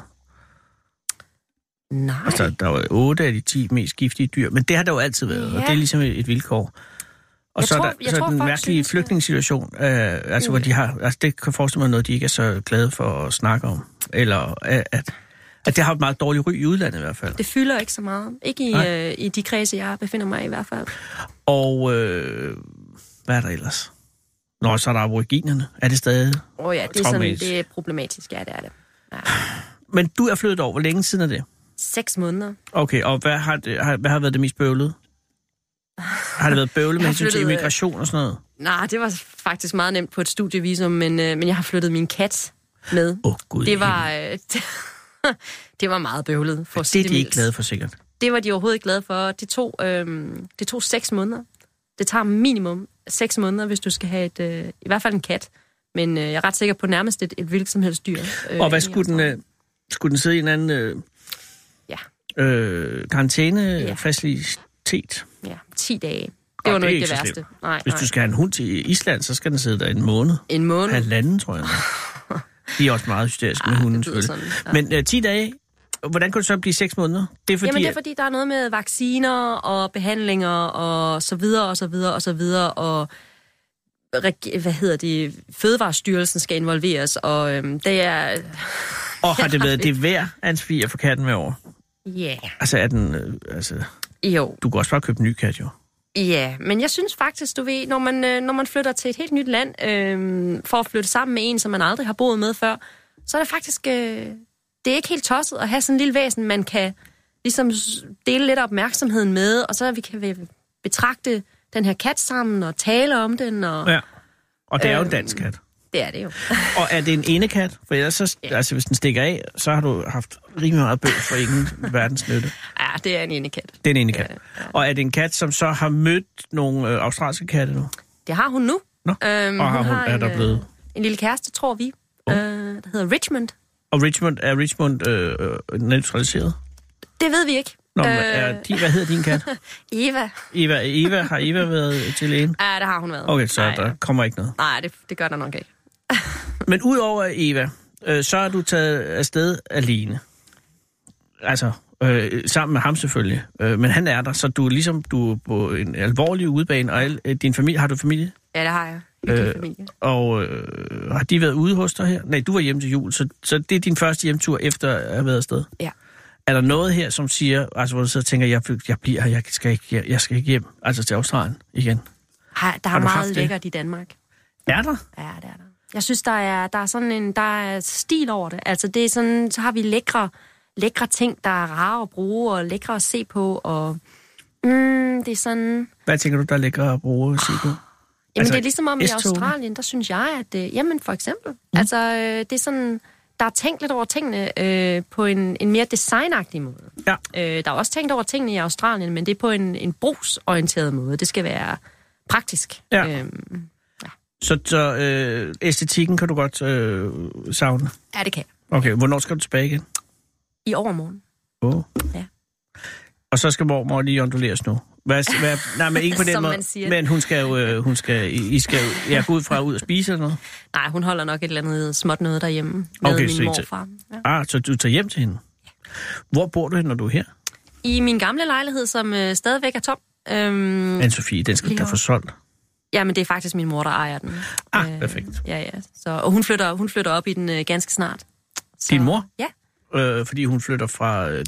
Speaker 5: Nej.
Speaker 3: Altså, der var otte af de ti mest giftige dyr, men det har der jo altid været, ja. og
Speaker 5: Ja.
Speaker 3: det er ligesom et, et vilkår. Og
Speaker 5: Jeg
Speaker 3: så
Speaker 5: tror-
Speaker 3: er der
Speaker 5: jeg
Speaker 3: så er
Speaker 5: tror,
Speaker 3: den
Speaker 5: folk
Speaker 3: mærkelige
Speaker 5: synes, at-
Speaker 3: flygtningssituation, øh, altså, hvor de har, altså, det kan jeg forestille mig noget, de ikke er så glade for at snakke om. Eller øh, at, at det har et meget dårligt ry i udlandet i hvert fald.
Speaker 5: Det fylder ikke så meget. Ikke i,
Speaker 3: Nej.
Speaker 5: øh, i de kredse, jeg befinder mig i, i hvert fald.
Speaker 3: Og øh, hvad er der ellers? Nå, så er der aboriginerne. Er det stadig?
Speaker 5: Åh oh, ja, det er, sådan,
Speaker 3: Traumatisk.
Speaker 5: det er problematisk. Ja, det er det.
Speaker 3: Men du er flyttet over. Hvor længe siden er det?
Speaker 5: Seks måneder.
Speaker 3: Okay, og hvad har, det, har, hvad har været det mest bøvlede? Har det været bøvlet med
Speaker 5: Jeg
Speaker 3: hensyn til
Speaker 5: flyttede, øh,
Speaker 3: immigration og sådan noget?
Speaker 5: Nej, det var faktisk meget nemt på et studievisum, men, øh, men jeg har flyttet min kat med.
Speaker 3: Åh, oh, gud. i
Speaker 5: Det var, øh, det, det var meget bøvlet. For at
Speaker 3: Det
Speaker 5: sige
Speaker 3: er de ikke
Speaker 5: mildt.
Speaker 3: glade for sikkert.
Speaker 5: Det var de overhovedet ikke glade for. Det tog, øh, det tog seks måneder. Det tager minimum seks måneder, hvis du skal have et, øh, i hvert fald en kat. Men øh, jeg er ret sikker på nærmest et, et hvilket som helst dyr. Øh,
Speaker 3: Og hvad
Speaker 5: i
Speaker 3: skulle den,
Speaker 5: Australien.
Speaker 3: øh, skulle den sidde i en anden øh,
Speaker 5: Ja,
Speaker 3: øh,
Speaker 5: Ja.
Speaker 3: karantænefacilitet?
Speaker 5: ja, 10 dage. Det
Speaker 3: Nå,
Speaker 5: var
Speaker 3: det
Speaker 5: nu
Speaker 3: er
Speaker 5: ikke
Speaker 3: ikke
Speaker 5: det
Speaker 3: så
Speaker 5: værste.
Speaker 3: slemt.
Speaker 5: Nej,
Speaker 3: Hvis
Speaker 5: nej.
Speaker 3: du skal have en hund til Island, så skal den sidde der en måned.
Speaker 5: En måned.
Speaker 3: Halvanden, tror jeg. De er også meget hysteriske med
Speaker 5: Ah,
Speaker 3: hunden,
Speaker 5: det lyder
Speaker 3: selvfølgelig.
Speaker 5: sådan,
Speaker 3: Men øh, 10 dage, hvordan kunne det så blive 6 måneder? Det er fordi,
Speaker 5: Fordi... Jamen, det er fordi, der er noget med vacciner og behandlinger og så videre og så videre og så videre, og reg- hvad hedder det, Fødevarestyrelsen skal involveres, og øhm, det er,
Speaker 3: og har det været det værd, Anne-Sophie, at få katten med over?
Speaker 5: ja, yeah.
Speaker 3: Altså, er den, øh, altså,
Speaker 5: jo,
Speaker 3: du kan også bare købe en ny kat, jo.
Speaker 5: ja, men jeg synes faktisk, du ved, når man, øh, når man flytter til et helt nyt land, øh, for at flytte sammen med en, som man aldrig har boet med før, så er det faktisk, øh, det er ikke helt tosset at have sådan en lille væsen, man kan ligesom s- dele lidt af opmærksomheden med, og så vi kan ve- betragte den her kat sammen og tale om den, og...
Speaker 3: Ja. Og det er
Speaker 5: Øhm,
Speaker 3: jo en dansk kat.
Speaker 5: Det er det jo.
Speaker 3: Og er det en enekat? For ellers, så,
Speaker 5: Ja.
Speaker 3: altså, hvis den stikker af, så har du haft rimelig meget bøvl for ingen verdens nytte.
Speaker 5: Ja, det er en indekat.
Speaker 3: Det er en enekat. Ja, ja. Og er det en kat, som så har mødt nogle øh, australske katte nu?
Speaker 5: Det har hun nu.
Speaker 3: Nå.
Speaker 5: Øhm,
Speaker 3: Og har hun- er der
Speaker 5: øh,
Speaker 3: blevet-
Speaker 5: En lille kæreste, tror vi. Oh. Øh, der hedder Richmond.
Speaker 3: Og Richmond, er Richmond øh, øh, neutraliseret?
Speaker 5: Det ved vi ikke.
Speaker 3: Nå, øh... er de, hvad hedder din kat?
Speaker 5: Eva.
Speaker 3: Eva, Eva, har Eva været til lægen?
Speaker 5: Ja, der har hun været.
Speaker 3: Okay, så
Speaker 5: Nej,
Speaker 3: der kommer ikke noget.
Speaker 5: Nej, det, det gør der nok ikke.
Speaker 3: Men udover Eva, øh, så er du taget afsted alene. Altså, øh, sammen med ham selvfølgelig. Øh, men han er der, så du er ligesom du er på en alvorlig udebane, og al, øh, din familie, har du familie?
Speaker 5: Ja, det har jeg. Hyggelig øh, familie.
Speaker 3: Og øh, har de været ude hos dig her? Nej, du var hjemme til jul, så, så det er din første hjemtur efter at have været afsted.
Speaker 5: Ja.
Speaker 3: Er der noget her, som siger, altså hvor du så tænker, jeg, jeg bliver her, jeg skal, ikke, jeg, jeg skal ikke hjem, altså til Australien igen?
Speaker 5: Har,
Speaker 3: Har
Speaker 5: der har er
Speaker 3: du haft
Speaker 5: meget
Speaker 3: det?
Speaker 5: lækkert i Danmark.
Speaker 3: Er der?
Speaker 5: Ja, det er der. Jeg synes, der er, der er sådan en der er stil over det. Altså, det er sådan, så har vi lækre, lækre ting, der er rare at bruge, og lækre at se på, og... Mm, det er sådan...
Speaker 3: Hvad tænker du, der er lækre at bruge at sige på?
Speaker 5: Jamen,
Speaker 3: Altså,
Speaker 5: altså, det er ligesom om i
Speaker 3: S-togene?
Speaker 5: Australien, der synes jeg, at... Øh, jamen, for eksempel. Mm. Altså, øh, det er sådan... Der er tænkt lidt over tingene øh, på en, en mere designagtig måde.
Speaker 3: Ja.
Speaker 5: Øh, der er også tænkt over tingene i Australien, men det er på en, en brugsorienteret måde. Det skal være praktisk.
Speaker 3: Ja.
Speaker 5: Øhm,
Speaker 3: Så, så øh, æstetikken kan du godt øh, savne.
Speaker 5: ja, det kan jeg.
Speaker 3: Okay, hvornår skal du tilbage igen?
Speaker 5: I overmorgen.
Speaker 3: Oh.
Speaker 5: Ja.
Speaker 3: Og så skal mormor lige onduleres nu. Hvad, hvad, nej, men ikke på den
Speaker 5: Som
Speaker 3: måde.
Speaker 5: man siger.
Speaker 3: Men hun skal jo, øh, hun skal, I I skal jo, jeg går ud fra ud og spise eller noget.
Speaker 5: Nej, hun holder nok et eller andet småt noget derhjemme med
Speaker 3: Okay,
Speaker 5: okay,
Speaker 3: så I
Speaker 5: min
Speaker 3: tager-
Speaker 5: morfar. Ja.
Speaker 3: Ah, så du tager hjem til hende? Hvor bor du hen, når du er her?
Speaker 5: I min gamle lejlighed, som øh, stadigvæk er tom. Øhm,
Speaker 3: anne Sofie, den skal du da
Speaker 5: Lige
Speaker 3: få solgt.
Speaker 5: Jamen, det er faktisk min mor, der ejer den.
Speaker 3: Ah,
Speaker 5: Øh.
Speaker 3: perfekt.
Speaker 5: Ja, ja. Så, og hun flytter, hun flytter op i den øh, ganske snart. Så,
Speaker 3: Din mor?
Speaker 5: Ja.
Speaker 3: Øh, fordi hun flytter fra... Øh,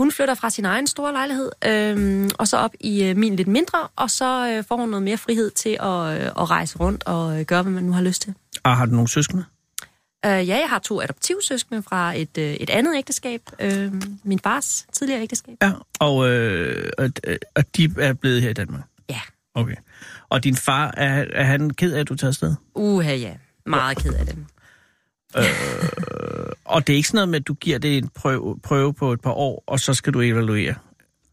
Speaker 5: Hun flytter fra sin egen store lejlighed, øhm, og så op i øh, min lidt mindre, og så øh, får hun noget mere frihed til at, øh, at rejse rundt og øh, gøre, hvad man nu har lyst til.
Speaker 3: ah, har du nogle søskende?
Speaker 5: Øh, ja, jeg har to adoptivsøskende fra et, øh, et andet ægteskab, øh, min fars tidligere ægteskab.
Speaker 3: Ja. Og, øh, og, og de er blevet her i Danmark?
Speaker 5: Ja,
Speaker 3: Okay. Og din far, er, er han ked af, at du tager afsted?
Speaker 5: uha ja, meget ked af det.
Speaker 3: Og det er ikke sådan noget med, at du giver det en prøve, prøve på et par år, og så skal du evaluere.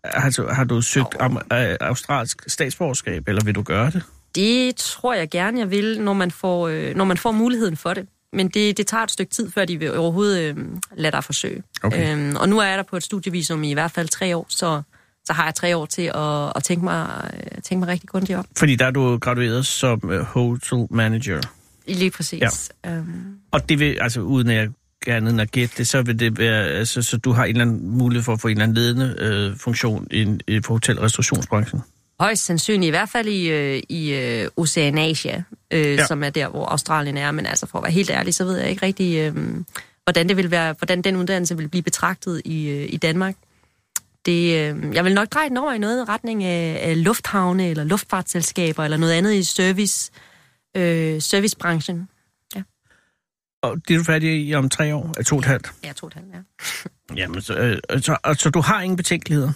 Speaker 3: Har du, har du søgt om øh, australsk statsborgerskab, eller vil du gøre det?
Speaker 5: Det tror jeg gerne, jeg vil, når man får, øh, når man får muligheden for det. Men det, det tager et stykke tid, før de vil overhovedet øh, lade dig forsøge.
Speaker 3: Okay.
Speaker 5: Øhm, og nu er jeg der på et studievisum i i hvert fald tre år, så, så har jeg tre år til at, at tænke, mig, øh, tænke mig rigtig grundigt om.
Speaker 3: Fordi der er du gradueret som øh, hotel manager.
Speaker 5: Lige præcis. Ja. Øhm,
Speaker 3: Og det vil, altså uden at jeg gerne end at gætte det, så vil det være, altså, så du har en eller anden mulighed for at få en eller anden ledende øh, funktion i, en- i på hotel- og restaurationsbranchen.
Speaker 5: højst sandsynligt, i hvert fald i, øh, i øh, Oceanasia, øh,
Speaker 3: Ja.
Speaker 5: ja. som er der, hvor Australien er. Men altså, for at være helt ærlig, så ved jeg ikke rigtig, øh, hvordan, det vil være, hvordan den uddannelse vil blive betragtet i, øh, i Danmark. Det, øh, jeg vil nok dreje den over i noget i retning af, af lufthavne eller luftfartsselskaber eller noget andet i service, øh, servicebranchen.
Speaker 3: Og det er du færdig i om tre år, er to og et halvt.
Speaker 5: Ja, jeg tror, det er.
Speaker 3: Jamen, så, øh, så, og, så du har ingen betænkeligheder.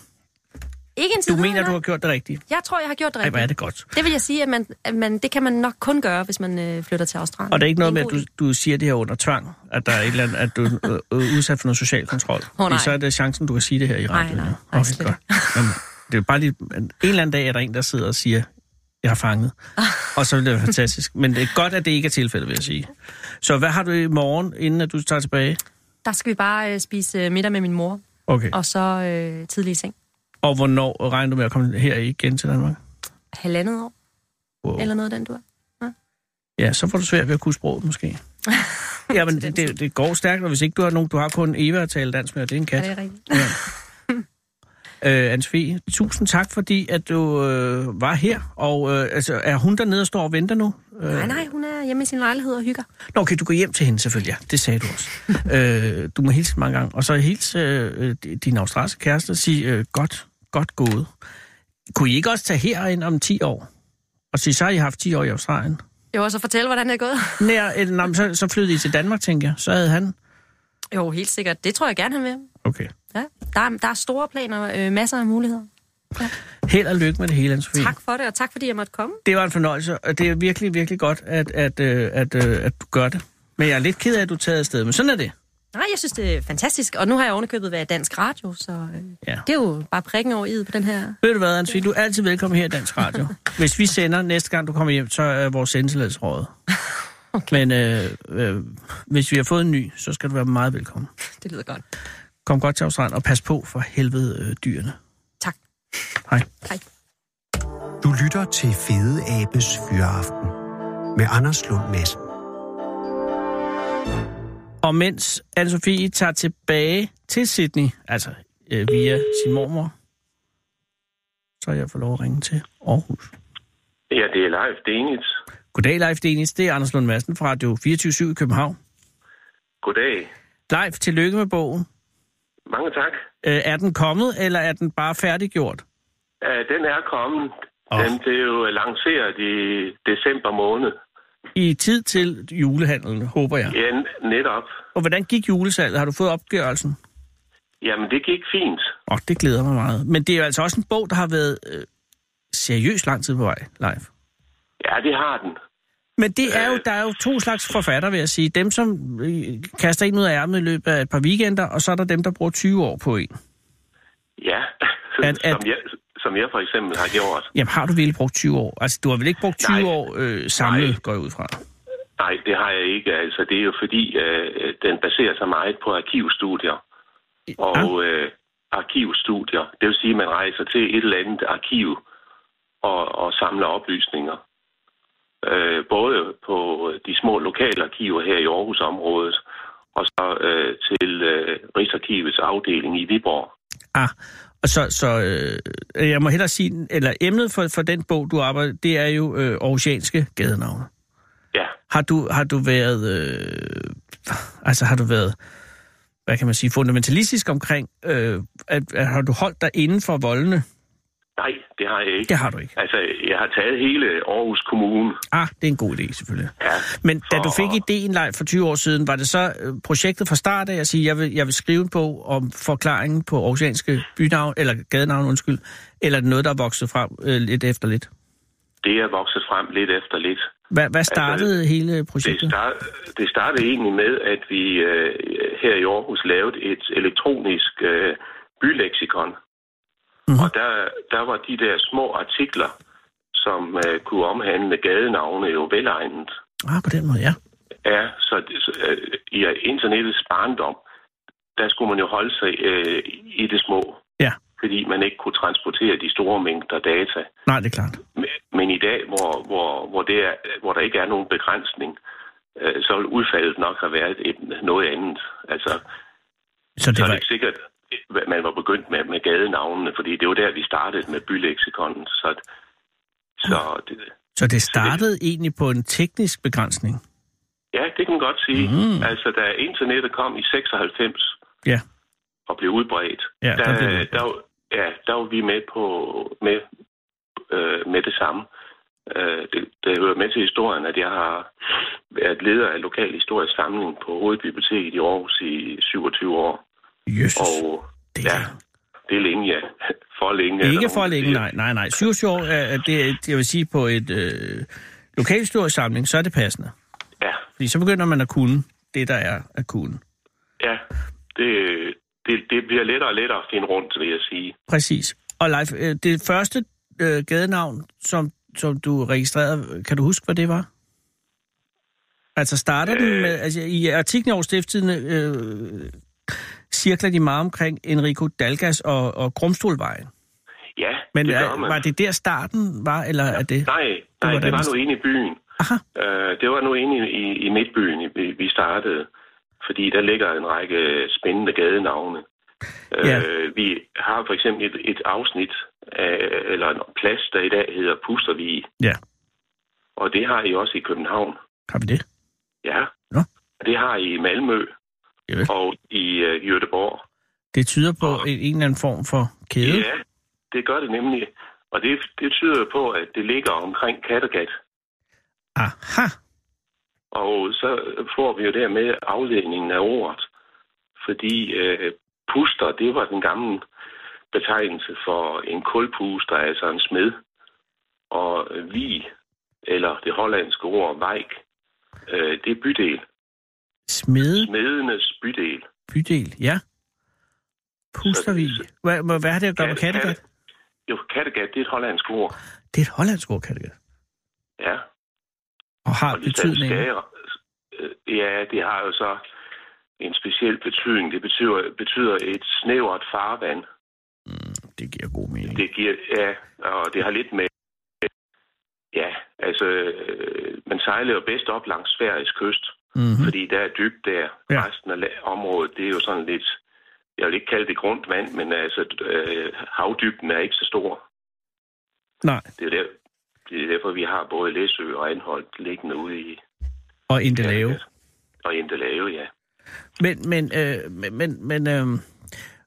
Speaker 5: Ikke en
Speaker 3: Du
Speaker 5: tid,
Speaker 3: mener,
Speaker 5: nej.
Speaker 3: du har gjort det rigtigt.
Speaker 5: Jeg tror, jeg har gjort det
Speaker 3: Ej,
Speaker 5: rigtigt.
Speaker 3: hvor er det godt.
Speaker 5: det vil jeg sige, at, man, at man, det kan man nok kun gøre, hvis man øh, flytter til Australien.
Speaker 3: Og der er ikke noget
Speaker 5: Det
Speaker 3: med,
Speaker 5: en
Speaker 3: at
Speaker 5: god
Speaker 3: du, du siger det her under tvang, at, der er et eller andet, at du er øh, udsat for noget social kontrol.
Speaker 5: Åh, nej.
Speaker 3: så er det chancen, du kan sige det her i radioen.
Speaker 5: nej.
Speaker 3: ja.
Speaker 5: Nej,
Speaker 3: Okay,
Speaker 5: slet
Speaker 3: godt. Jamen, det er bare lige, en eller anden dag er der en, der sidder og siger, jeg har fanget. Og så bliver det være fantastisk. Men det er godt, at det ikke er tilfældet, vil jeg sige. Så hvad har du i morgen, inden at du tager tilbage?
Speaker 5: Der skal vi bare øh, spise øh, middag med min mor,
Speaker 3: Okay.
Speaker 5: og så øh, tidlig i seng.
Speaker 3: Og hvornår regner du med at komme her igen til Danmark?
Speaker 5: Halvandet år,
Speaker 3: Wow.
Speaker 5: eller noget af den du er.
Speaker 3: Ja, så får du svært ved at kunne sproget måske. Jamen, det, det, det går stærkt, og hvis ikke du har nogen, du har kun Eva at tale dansk med, og det er en
Speaker 5: Ja,
Speaker 3: kat.
Speaker 5: det er rigtigt.
Speaker 3: Øh, Anne-Sophie, tusind tak, fordi at du øh, var her. Og øh, altså, er hun dernede og står og venter nu? Øh,
Speaker 5: Nej, nej, hun er hjemme i sin lejlighed og hygger.
Speaker 3: Nå, okay, du går hjem til hende selvfølgelig, ja. Det sagde du også. øh, du må hilse mange gange. Og så hilse øh, øh, din australske kæreste og sige, øh, godt, godt gået. Kunne I ikke også tage herind om 10 år? Og sige, så har I haft 10 år i Australien.
Speaker 5: Jo, og så fortæl, hvordan det er gået.
Speaker 3: Nær, øh, nå, men så, så flyttede I til Danmark, tænker jeg. Så havde han...
Speaker 5: Jo, helt sikkert. Det tror jeg gerne, han vil.
Speaker 3: Okay.
Speaker 5: Ja. Der, er, der er store planer, øh, masser af muligheder.
Speaker 3: Held og lykke med det hele, Anne-Sophie.
Speaker 5: Tak for det, og tak fordi jeg måtte komme.
Speaker 3: Det var en fornøjelse, og det er virkelig, virkelig godt, at, at, øh, at, øh, at du gør det. Men jeg er lidt ked af, at du er taget afsted, men sådan er det.
Speaker 5: Nej, jeg synes, det er fantastisk. Og nu har jeg ovenikøbet været i dansk radio, så øh,
Speaker 3: Ja.
Speaker 5: det er jo bare prikken over i på den her.
Speaker 3: Ved du hvad, Anne Du er altid velkommen her i Dansk Radio. Hvis vi sender næste gang, du kommer hjem, så er vores sendtilladsråd. Okay. Men øh, øh, hvis vi har fået en ny, så skal du være meget velkommen.
Speaker 5: Det lyder godt.
Speaker 3: Kom godt til Australien, og pas på for helvede øh, dyrene.
Speaker 5: Tak.
Speaker 3: Hej.
Speaker 5: Hej.
Speaker 1: Du lytter til Fede Abes Fyraften med Anders Lund Madsen.
Speaker 3: Og mens Anne-Sophie tager tilbage til Sydney, altså øh, via sin mormor, så har jeg fået lov at ringe til Aarhus.
Speaker 6: Ja, det er Leif Denitz.
Speaker 3: Goddag, Leif Denis. Det er Anders Lund Madsen fra Radio 24 i København.
Speaker 6: Goddag.
Speaker 3: Leif, tillykke med bogen.
Speaker 6: Mange tak.
Speaker 3: Øh, er den kommet, eller er den bare færdiggjort?
Speaker 6: Øh, Den er kommet.
Speaker 3: Åh.
Speaker 6: Oh. Den blev jo lanceret i december måned.
Speaker 3: I tid til julehandlen, håber jeg.
Speaker 6: Ja, n- netop.
Speaker 3: Og hvordan gik julesalget? Har du fået opgørelsen?
Speaker 6: Jamen, det gik fint.
Speaker 3: Åh, oh, det glæder mig meget. Men det er jo altså også en bog, der har været øh, seriøst lang tid på vej, Leif.
Speaker 6: Ja, det har den.
Speaker 3: Men det
Speaker 6: Øh.
Speaker 3: er jo, der er jo to slags forfatter, vil jeg sige. Dem, som øh, kaster en ud af ærmet i løbet af et par weekender, og så er der dem, der bruger 20 år på en.
Speaker 6: Ja,
Speaker 3: At- at-
Speaker 6: Som, jeg, som jeg for eksempel har gjort.
Speaker 3: Jamen, har du virkelig brugt 20 år? Altså, du har vel ikke brugt 20
Speaker 6: Nej.
Speaker 3: år øh, samlet,
Speaker 6: Nej.
Speaker 3: går jeg ud fra?
Speaker 6: Nej, det har jeg ikke. Altså, det er jo fordi, øh, den baserer sig meget på arkivstudier. Og øh, arkivstudier, det vil sige, at man rejser til et eller andet arkiv og, og samler oplysninger. Øh, både på de små lokale arkiver her i Aarhusområdet, og så øh, til øh, Rigsarkivets afdeling i Viborg.
Speaker 3: Ah, og så, så øh, jeg må hellere sige, eller emnet for, for den bog, du arbejder, det er jo øh, aarhusianske gadenavne.
Speaker 6: Ja,
Speaker 3: Har du, har du været, øh, altså har du været, hvad kan man sige, fundamentalistisk omkring, øh, at, at, har du holdt dig inden for voldene?
Speaker 6: nej, det har jeg ikke.
Speaker 3: Det
Speaker 6: Ja.
Speaker 3: har du ikke.
Speaker 6: Altså, jeg har taget hele Aarhus Kommune.
Speaker 3: Ah, det er en god idé selvfølgelig.
Speaker 6: Ja,
Speaker 3: Men da du
Speaker 6: for-
Speaker 3: fik ideen, Leif, for 20 år siden, var det så øh, projektet fra start af at sige, jeg vil, jeg vil skrive en bog om forklaringen på aarhusianske bynavn, eller gadenavn, undskyld, eller er det noget, der er vokset frem øh, lidt efter lidt?
Speaker 6: det er vokset frem lidt efter lidt.
Speaker 3: Hvad, hvad startede altså, hele
Speaker 6: Det,
Speaker 3: projektet?
Speaker 6: start, det startede egentlig med, at vi øh, her i Aarhus lavede et elektronisk øh, byleksikon.
Speaker 3: Mhm.
Speaker 6: Mm-hmm. Og der, der var de der små artikler, som øh, kunne omhandle gadenavne jo velegnet.
Speaker 3: Ah, på den måde, ja.
Speaker 6: Ja, så det- så, øh, i internettets barndom, der skulle man jo holde sig øh, i det små.
Speaker 3: Ja.
Speaker 6: Fordi man ikke kunne transportere de store mængder data.
Speaker 3: Nej, det er klart.
Speaker 6: Men i dag, hvor, hvor, hvor, det er, hvor der ikke er nogen begrænsning, øh, så vil udfaldet nok have været et, noget andet. Altså,
Speaker 3: Så det
Speaker 6: så
Speaker 3: var,
Speaker 6: er det ikke sikkert, hvad man var begyndt med, med gadenavnene, fordi det var der, vi startede med byleksikonen. Så, så det,
Speaker 3: så det startede egentlig på en teknisk begrænsning?
Speaker 6: ja, det kan man godt sige.
Speaker 3: Mhm.
Speaker 6: Mm. Altså, da internettet kom i 96
Speaker 3: Ja.
Speaker 6: og blev udbredt,
Speaker 3: Ja, der
Speaker 6: der,
Speaker 3: blev det
Speaker 6: der,
Speaker 3: udbredt.
Speaker 6: der, var- ja, der var vi med på med, øh, med det samme. Øh, det, det hører med til historien, at jeg har været leder af lokal historisk samling på Hovedbiblioteket i Aarhus i 27 år.
Speaker 3: Jesus,
Speaker 6: Og
Speaker 3: det
Speaker 6: ja,
Speaker 3: er...
Speaker 6: det er længe, ja. For længe. er der
Speaker 3: Ikke for
Speaker 6: nogen, der
Speaker 3: længe,
Speaker 6: siger.
Speaker 3: nej, nej, nej. 27 år, er, er det, jeg vil sige, på et øh, lokalhistorisk samling, så er det passende.
Speaker 6: Ja,
Speaker 3: Fordi så begynder man at kunne det, der er at kunne.
Speaker 6: ja. Det, det, det bliver lettere og lettere at finde rundt, vil jeg sige.
Speaker 3: Præcis. Og Leif, øh, det første øh, gadenavn, som, som du registrerede, kan du huske, hvad det var? Altså starter øh... den med, altså i artiklen over stifttidene øh, cirkler de meget omkring Enrico Dalgas og, og Grumstolvejen.
Speaker 6: Ja,
Speaker 3: Men
Speaker 6: det
Speaker 3: er,
Speaker 6: gør man.
Speaker 3: var det der starten var, eller er det? var
Speaker 6: Nej, nej, det var
Speaker 3: dernæst.
Speaker 6: nu inde i byen.
Speaker 3: Aha.
Speaker 6: Øh, det var nu inde i, i, i Midtbyen, i- vi- vi startede, fordi der ligger en række spændende gadenavne.
Speaker 3: Ja.
Speaker 6: Øh, vi har for eksempel et, et afsnit, af, eller en plads, der i dag hedder Pustervig,
Speaker 3: Ja,
Speaker 6: og det har I også i København.
Speaker 3: har vi det?
Speaker 6: Ja.
Speaker 3: Nå.
Speaker 6: Det har I i Malmø
Speaker 3: Javel.
Speaker 6: og i øh, Jødeborg.
Speaker 3: Det tyder på en, en eller anden form for kæde.
Speaker 6: Ja, det gør det nemlig. Og det, det tyder jo på, at det ligger omkring Kattegat.
Speaker 3: Aha.
Speaker 6: Og så får vi jo dermed afledningen af ordet. Fordi øh, puster, det var den gamle betegnelse for en kulpuster, altså en smed. Og øh, vi, eller det hollandske ord vejk, øh, det er bydel.
Speaker 3: Smede
Speaker 6: Smedenes bydel.
Speaker 3: bydel, ja. Pustervig. Hvad, hvad, hvad har det at gøre med
Speaker 6: Katte-
Speaker 3: Kattegat?
Speaker 6: Jo, Kattegat, det er et hollandsk ord.
Speaker 3: Det er et hollandsk ord, Kattegat.
Speaker 6: Ja,
Speaker 3: Og har
Speaker 6: og ligesom
Speaker 3: betydning.
Speaker 6: skager, øh, ja, det har jo så en speciel betydning. Det betyder, betyder et snævert farvand.
Speaker 3: Det giver god mening.
Speaker 6: Det giver, ja, og det har lidt med, ja, altså, øh, man sejler jo bedst op langs Sveriges kyst, mm.
Speaker 3: Mm-hmm.
Speaker 6: fordi der er dybt der.
Speaker 3: Ja.
Speaker 6: Ja. Resten af la- området, det er jo sådan lidt, jeg vil ikke kalde det grundt vand, men altså, øh, havdybden er ikke så stor.
Speaker 3: Nej,
Speaker 6: Det er, der, det er derfor, vi har både Læsø og Anholdt liggende ude i...
Speaker 3: og Indelave.
Speaker 6: Og Indelave, ja.
Speaker 3: Men, men, øh, men, men, men øh,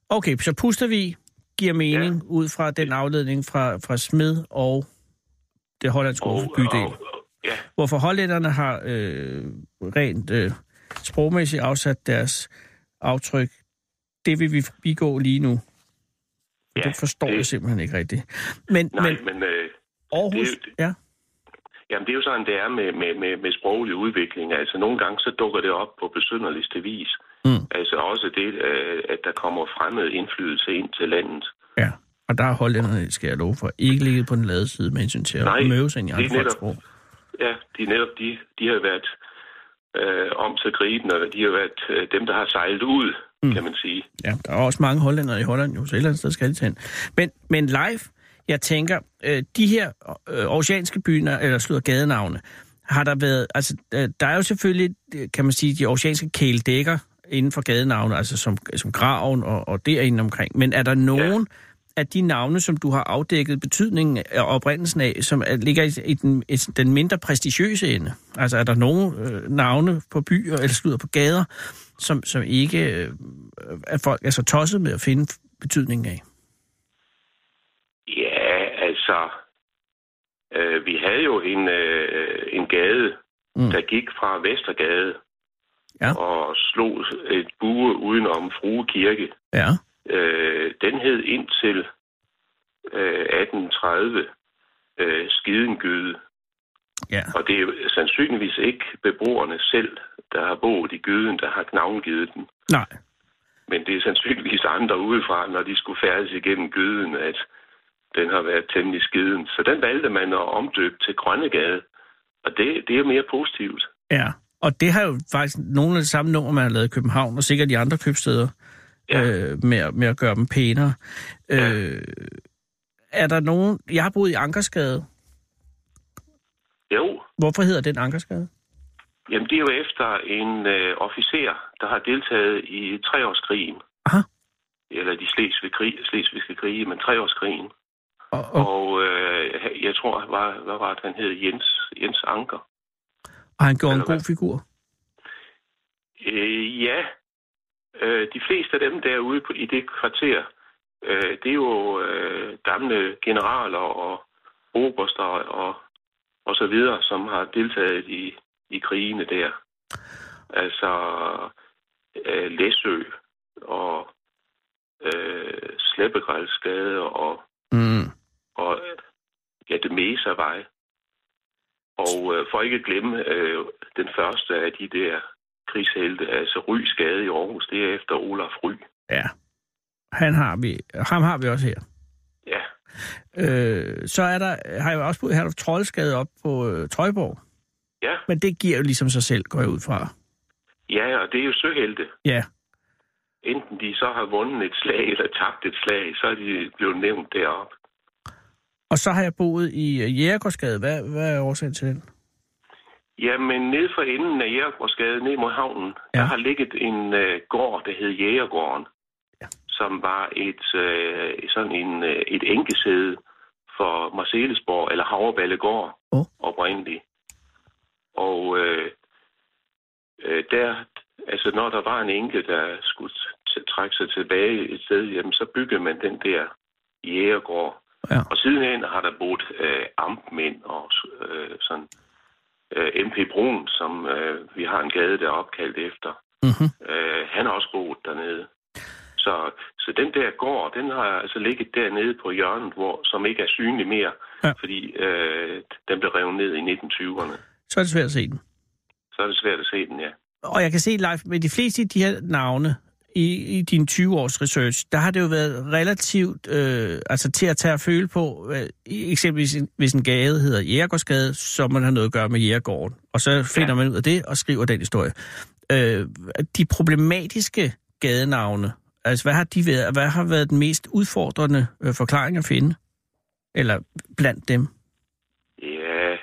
Speaker 3: okay, så Pustervig giver mening ja. ud fra den afledning fra, fra Smed og det hollandske ord for bydel.
Speaker 6: og- ja,
Speaker 3: hvorfor hollænderne har øh, rent øh, sprogmæssigt afsat deres aftryk, det vil vi bigå lige nu. Ja,
Speaker 6: ja,
Speaker 3: det forstår det...
Speaker 6: det-
Speaker 3: jeg simpelthen ikke rigtigt. Men,
Speaker 6: Nej,
Speaker 3: men
Speaker 6: men, men øh,
Speaker 3: Aarhus,
Speaker 6: det er jo-
Speaker 3: ja,
Speaker 6: jamen, det er jo sådan, det er med, med, med, med sproglig udvikling. Altså, nogle gange så dukker det op på besynderligste vis.
Speaker 3: Mm.
Speaker 6: Altså også det, øh, at der kommer fremmed indflydelse ind til landet.
Speaker 3: ja. Og der har hollænderne, skal jeg love for, ikke ligget på den lade side med hensyn til at
Speaker 6: Nej,
Speaker 3: møve sig ind i
Speaker 6: det er
Speaker 3: andre folks
Speaker 6: netop-
Speaker 3: sprog.
Speaker 6: Ja, de er netop de, de har været øh, om til griben, og de har været øh, dem, der har sejlet ud, mm. kan man sige.
Speaker 3: Ja, der er også mange hollændere i Holland, jo, så et eller andet sted skal de tage hen. Men, men live, jeg tænker, øh, de her øh, oceanske byer, eller slutter gadenavne, har der været, altså øh, der er jo selvfølgelig, øh, kan man sige, de oceanske kæledækker inden for gadenavne, altså som, som Graven og, og derinde omkring. Men er der nogen af de navne, som du har afdækket betydningen og oprindelsen af, som er, ligger i, i, den, i den mindre prestigiøse ende? Altså er der nogen øh, navne på byer eller slutter på gader, som, som ikke øh, at folk er så tosset med at finde betydningen af.
Speaker 6: Ja, altså, øh, vi havde jo en, øh, en gade,
Speaker 3: Mm.
Speaker 6: mm. der gik fra Vestergade
Speaker 3: Ja.
Speaker 6: og slog et bue udenom Frue Kirke.
Speaker 3: Ja,
Speaker 6: Øh, den hed indtil øh, 1830 øh, Skidengøde.
Speaker 3: ja.
Speaker 6: Og det er jo sandsynligvis ikke beboerne selv, der har boet i gyden, der har navngivet den.
Speaker 3: Nej,
Speaker 6: Men det er sandsynligvis andre udefra, når de skulle færdes igennem gyden, at den har været temmelig skiden. Så den valgte man at omdøbe til Grønnegade, og det, det er mere positivt.
Speaker 3: ja. Og det har jo faktisk nogle af de samme numre, man har lavet i København, og sikkert de andre købsteder, ja.
Speaker 6: Ja.
Speaker 3: øh, med, at- med at gøre dem pænere.
Speaker 6: Ja.
Speaker 3: Øh, er der nogen... Jeg har boet i Ankersgade.
Speaker 6: Jo,
Speaker 3: Hvorfor hedder den Ankersgade?
Speaker 6: jamen det er jo efter en øh, officer, der har deltaget i treårskrigen.
Speaker 3: Aha.
Speaker 6: Eller de slesvig krig, slesvigske krige, men treårskrigen.
Speaker 3: Og, og,
Speaker 6: Og øh, jeg tror, han var, hvad var det, han hed? Jens, Jens Anker.
Speaker 3: og han gjorde en
Speaker 6: eller
Speaker 3: god
Speaker 6: hvad?
Speaker 3: figur.
Speaker 6: Øh, ja, øh, de fleste af dem derude på, i det kvarter, øh, det er jo øh, gamle generaler og oberster og, og så videre, som har deltaget i, i krigene der. Altså øh, Læsø og øh, Slæbbegrælsgade og,
Speaker 3: Mm.
Speaker 6: og øh, ja, det Mesavej. Og øh, for ikke at glemme øh, den første af de der krigshelte, altså Rys Gade i Aarhus, det er efter Olaf Ry.
Speaker 3: Ja. Han har vi, ham har vi også her.
Speaker 6: Ja,
Speaker 3: Øh, så er der, har jeg jo også boet, har du Troldsgade op på øh, Trøjborg.
Speaker 6: ja,
Speaker 3: Men det giver jo ligesom sig selv, går jeg ud fra.
Speaker 6: ja, og det er jo søhelte.
Speaker 3: Ja,
Speaker 6: Enten de så har vundet et slag eller tabt et slag, så er de blevet nævnt deroppe.
Speaker 3: Og så har jeg boet i øh, Jægergårdsgade. Hvad, hvad er årsagen til den?
Speaker 6: Jamen, nede for enden af Jægergårdsgade, ned mod havnen, ja. der har ligget en øh, gård, der hed Jægergården, ja. som var et øh, sådan en, øh, et enkesæde for Marcelesborg, eller Havreballe Gård,
Speaker 3: Åh.
Speaker 6: oh. oprindeligt. Og øh, øh, der, altså når der var en enke, der skulle t- trække sig tilbage et sted, jamen så byggede man den der Jægergård.
Speaker 3: Ja.
Speaker 6: Og sidenhen har der boet øh, amtmænd og øh, sådan øh, MP Brun, som øh, vi har en gade, der er opkaldt efter.
Speaker 3: Mm-hmm.
Speaker 6: Øh, han har også boet dernede. Så, så den der gård, den har altså ligget dernede på hjørnet, hvor, som ikke er synlig mere,
Speaker 3: Ja.
Speaker 6: ja. fordi øh, den blev revet ned i 1920'erne.
Speaker 3: Så er det svært at se den.
Speaker 6: Så er det svært at se den, ja.
Speaker 3: Og jeg kan se live med de fleste af de her navne i, i din 20-års research, der har det jo været relativt øh, altså til at tage og føle på. Øh, i- eksempelvis en- hvis en gade hedder Jægergårdsgade, så må den have noget at gøre med Jægergården. Og så finder ja. man ud af det og skriver den historie. Øh, de problematiske gadenavne, altså hvad har de været, hvad har været den mest udfordrende øh, forklaring at finde? Eller blandt dem?
Speaker 6: Ja.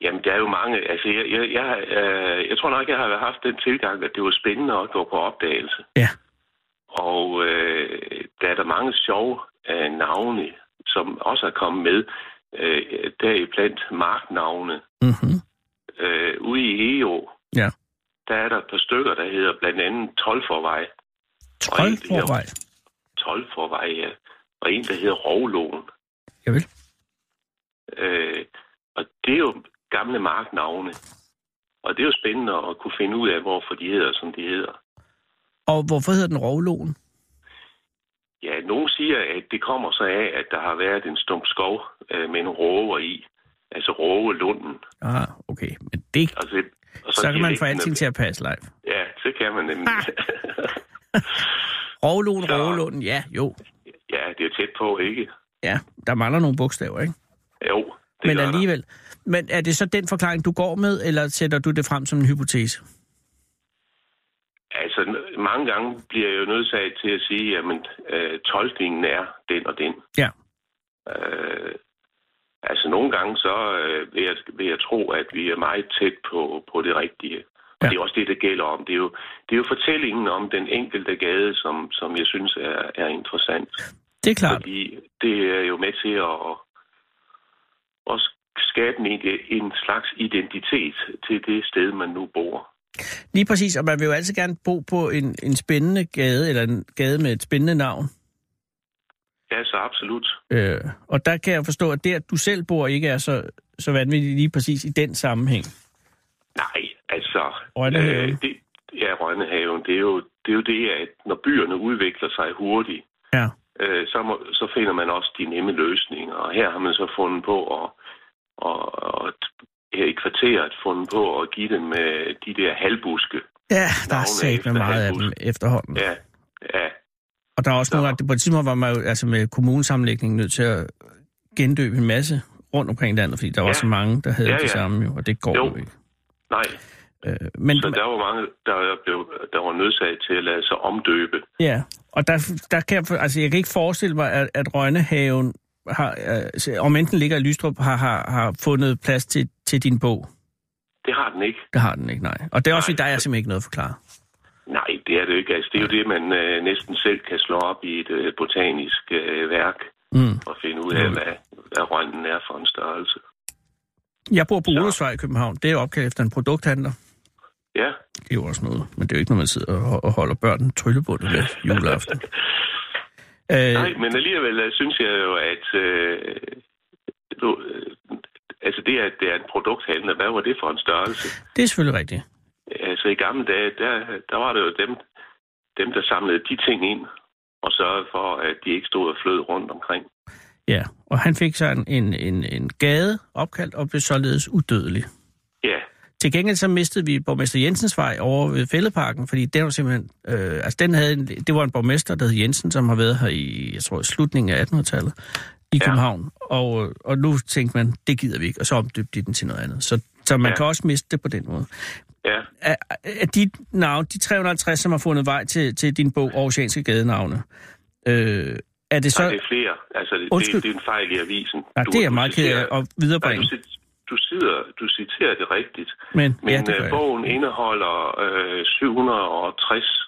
Speaker 6: Jamen, der er jo mange. Altså, jeg, jeg, jeg, øh, jeg tror nok, jeg har haft den tilgang, at det var spændende at gå på opdagelse.
Speaker 3: Ja.
Speaker 6: Og øh, der er der mange sjove øh, navne, som også er kommet med. Øh, deriblandt marknavne.
Speaker 3: Mm-hmm.
Speaker 6: Øh, ude i EO,
Speaker 3: Ja.
Speaker 6: der er der et par stykker, der hedder blandt andet Tolforvej.
Speaker 3: Troldforvej.
Speaker 6: Tolforvej, ja. Og en, der hedder Rovlån.
Speaker 3: Javel.
Speaker 6: Øh, og det er jo gamle marknavne. Og det er jo spændende at kunne finde ud af, hvorfor de hedder, som de hedder.
Speaker 3: Og hvorfor hedder den Rovloen?
Speaker 6: Ja, nogen siger, at det kommer så af, at der har været en stump skov øh, med en råger i. Altså rågelunden.
Speaker 3: Ah, okay. Men det,
Speaker 6: Og så, og
Speaker 3: så, så kan man få
Speaker 6: dialekten er-
Speaker 3: alting Ah! til at passe live.
Speaker 6: Ja, så kan man nemlig.
Speaker 3: Rovlund,
Speaker 6: Så-
Speaker 3: Rovlund, ja, jo.
Speaker 6: ja, det er jo tæt på, ikke?
Speaker 3: Ja, der mangler nogle bogstaver, ikke?
Speaker 6: Jo, det
Speaker 3: Men
Speaker 6: gør der.
Speaker 3: alligevel. Men er det så den forklaring, du går med, eller sætter du det frem som en hypotese?
Speaker 6: Altså, n- mange gange bliver jeg jo nødsaget til at sige, at øh, tolkningen er den og den.
Speaker 3: Ja.
Speaker 6: Øh, altså, nogle gange så øh, vil, jeg, vil jeg tro, at vi er meget tæt på, på det rigtige. Og
Speaker 3: Ja.
Speaker 6: ja. det er også det, det gælder om. Det er jo, det er jo fortællingen om den enkelte gade, som, som jeg synes er, er interessant.
Speaker 3: Det er klart.
Speaker 6: Fordi det er jo med til at, at skabe en, en slags identitet til det sted, man nu bor.
Speaker 3: Lige præcis, og man vil jo altid gerne bo på en, en spændende gade, eller en gade med et spændende navn.
Speaker 6: Ja, så absolut.
Speaker 3: Øh, og der kan jeg forstå, at det, at du selv bor, ikke er så, så vanvittigt lige præcis i den sammenhæng.
Speaker 6: Nej, altså...
Speaker 3: Rønnehaven.
Speaker 6: det, ja, Rønnehaven. Det er, jo, det er jo det, at når byerne udvikler sig hurtigt,
Speaker 3: Ja.
Speaker 6: øh, så, må, så finder man også de nemme løsninger. Og her har man så fundet på at, at, at her i kvarteret fundet på at give dem med de der halvbuske.
Speaker 3: Ja, der er
Speaker 6: Navne
Speaker 3: sagt med
Speaker 6: efter
Speaker 3: meget af
Speaker 6: Halbus.
Speaker 3: dem efterhånden.
Speaker 6: Ja, ja,
Speaker 3: Og der er også nogle
Speaker 6: Så-
Speaker 3: gange, på et tidspunkt var man jo altså med kommunesammenlægningen nødt til at gendøbe en masse rundt omkring landet, fordi der var
Speaker 6: Ja.
Speaker 3: så mange, der havde ja,
Speaker 6: Ja,
Speaker 3: ja. det
Speaker 6: ja.
Speaker 3: samme, jo, og det går jo,
Speaker 6: Jo.
Speaker 3: ikke.
Speaker 6: nej.
Speaker 3: Øh, men,
Speaker 6: Så der var mange, der, blev, der var nødsaget til at lade sig omdøbe.
Speaker 3: ja, og der, der kan jeg, for- altså jeg kan ikke forestille mig, at, at Rønnehaven, har, øh, om enten ligger i Lystrup, har, har, har fundet plads til, til din bog.
Speaker 6: Det har den ikke.
Speaker 3: Det har den ikke, nej. Og det er også,
Speaker 6: Nej.
Speaker 3: fordi der er simpelthen ikke noget at forklare.
Speaker 6: Nej, det er det jo ikke. Altså, det er jo det, man øh, næsten selv kan slå op i et øh, botanisk øh, værk
Speaker 3: Mm.
Speaker 6: og finde ud af, hvad, hvad rønnen er for en størrelse.
Speaker 3: Jeg bor på Olesvej i København. Det er opkaldt efter en produkthandler.
Speaker 6: Ja,
Speaker 3: Det er jo også noget, men det er jo ikke noget, man sidder og, og holder børn tryllebundet med juleaften. Øh,
Speaker 6: nej, men alligevel øh, synes jeg jo, at øh, du, øh, altså det, at det er en produkthandler, hvad var det for en størrelse?
Speaker 3: det er selvfølgelig rigtigt.
Speaker 6: Altså i gamle dage, der, der var det jo dem, dem, der samlede de ting ind og sørgede for, at de ikke stod og flød rundt omkring.
Speaker 3: Ja, og han fik så en, en, en, en gade opkaldt og blev således udødelig.
Speaker 6: Ja,
Speaker 3: Til gengæld så mistede vi borgmester Jensens vej over ved Fældeparken, fordi den var simpelthen, øh, altså den havde en, det var en borgmester, der hed Jensen, som har været her i, jeg tror, i slutningen af 1800-tallet i
Speaker 6: Ja.
Speaker 3: København. Og, øh, og nu tænkte man, det gider vi ikke, og så omdøbte de den til noget andet. Så, så man ja.
Speaker 6: Ja.
Speaker 3: kan også miste det på den måde.
Speaker 6: ja.
Speaker 3: af, af de navne, de 350, som har fundet vej til, til din bog, Aarhusianske Gadenavne, øh, er det
Speaker 6: Så...
Speaker 3: så...
Speaker 6: Nej, det er flere. Altså, det,
Speaker 3: Undskyld.
Speaker 6: det, det er en fejl i avisen.
Speaker 3: Nej,
Speaker 6: Du-
Speaker 3: det er jeg
Speaker 6: du
Speaker 3: meget ked af
Speaker 6: citerer-
Speaker 3: at
Speaker 6: Nej, du,
Speaker 3: viderebringe.
Speaker 6: cit- du du, sidder, du citerer det rigtigt.
Speaker 3: Men,
Speaker 6: Men
Speaker 3: ja, det gør
Speaker 6: øh,
Speaker 3: jeg.
Speaker 6: bogen indeholder øh, 760.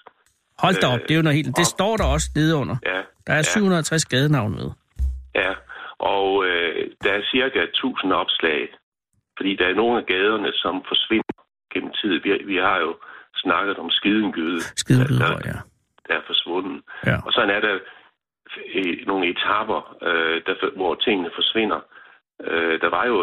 Speaker 3: Hold da op, det er jo noget helt... Det
Speaker 6: op.
Speaker 3: står der også nede under.
Speaker 6: øh, Ja,
Speaker 3: Der er
Speaker 6: ja.
Speaker 3: 760 gadenavn med.
Speaker 6: Ja, og øh, der er cirka 1000 opslag, fordi der er nogle af gaderne, som forsvinder gennem tiden. Vi, vi har jo snakket om Skidengøde,
Speaker 3: Skidebydere,
Speaker 6: der,
Speaker 3: ja.
Speaker 6: der er forsvundet.
Speaker 3: ja.
Speaker 6: Og sådan er der øh, nogle etapper, øh, der, hvor tingene forsvinder. Øh, der var jo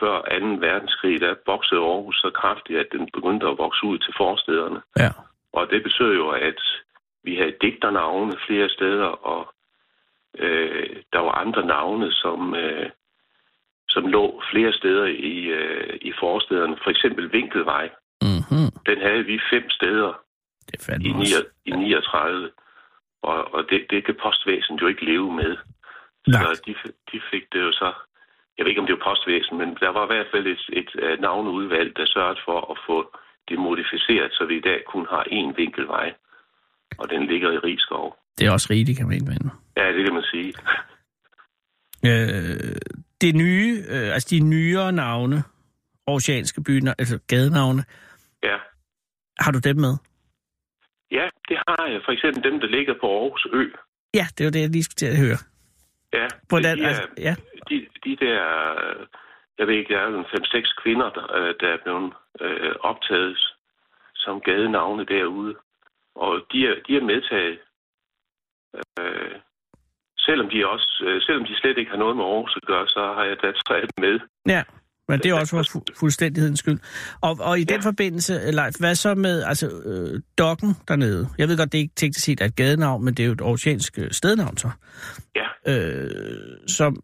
Speaker 6: før 2. verdenskrig, der voksede Aarhus så kraftigt, at den begyndte at vokse ud til forstederne.
Speaker 3: Ja.
Speaker 6: Og det betød jo, at vi havde digternavne flere steder, og øh, der var andre navne, som, øh, som lå flere steder i, øh, i forstederne. For eksempel Vinkelvej.
Speaker 3: Mm-hmm.
Speaker 6: Den havde vi fem steder
Speaker 3: Det er
Speaker 6: i,
Speaker 3: fandme
Speaker 6: ni,
Speaker 3: også.
Speaker 6: i 39, og, og det, det kan postvæsenet jo ikke leve med.
Speaker 3: Nej.
Speaker 6: Så de, f- de fik det jo så... Jeg ved ikke, om det var postvæsen, men der var i hvert fald et, et, et navneudvalg, der sørgede for at få det modificeret, så vi i dag kun har én vinkelvej, og den ligger i Rigskov.
Speaker 3: Det er også rigeligt, kan man indvende.
Speaker 6: Ja, det kan man sige.
Speaker 3: Øh, det nye, øh, altså de nyere navne, oceanske byer, altså gadenavne,
Speaker 6: Ja.
Speaker 3: har du dem med?
Speaker 6: ja, det har jeg. For eksempel dem, der ligger på Aarhus Ø.
Speaker 3: Ja, det var det, jeg lige skulle til at høre.
Speaker 6: Ja,
Speaker 3: Hvordan,
Speaker 6: de, er-
Speaker 3: altså, ja.
Speaker 6: de, de der, øh, jeg ved ikke, der er jo en 5-6 kvinder, der, øh, der er blevet øh, optaget som gadenavne derude. Og de er, de er medtaget, øh, selvom, de også, øh, selvom de slet ikke har noget med Aarhus at gøre, så har jeg da taget dem med.
Speaker 3: Ja, men det er
Speaker 6: Ja,
Speaker 3: også for
Speaker 6: også-
Speaker 3: fu- fuldstændighedens skyld. Og, og i den
Speaker 6: Ja.
Speaker 3: forbindelse, Leif, hvad så med altså, øh, dokken dernede? Jeg ved godt, det ikke teknisk set er et gadenavn, men det er jo et oceansk øh, stednavn så.
Speaker 6: Ja.
Speaker 3: Øh, som,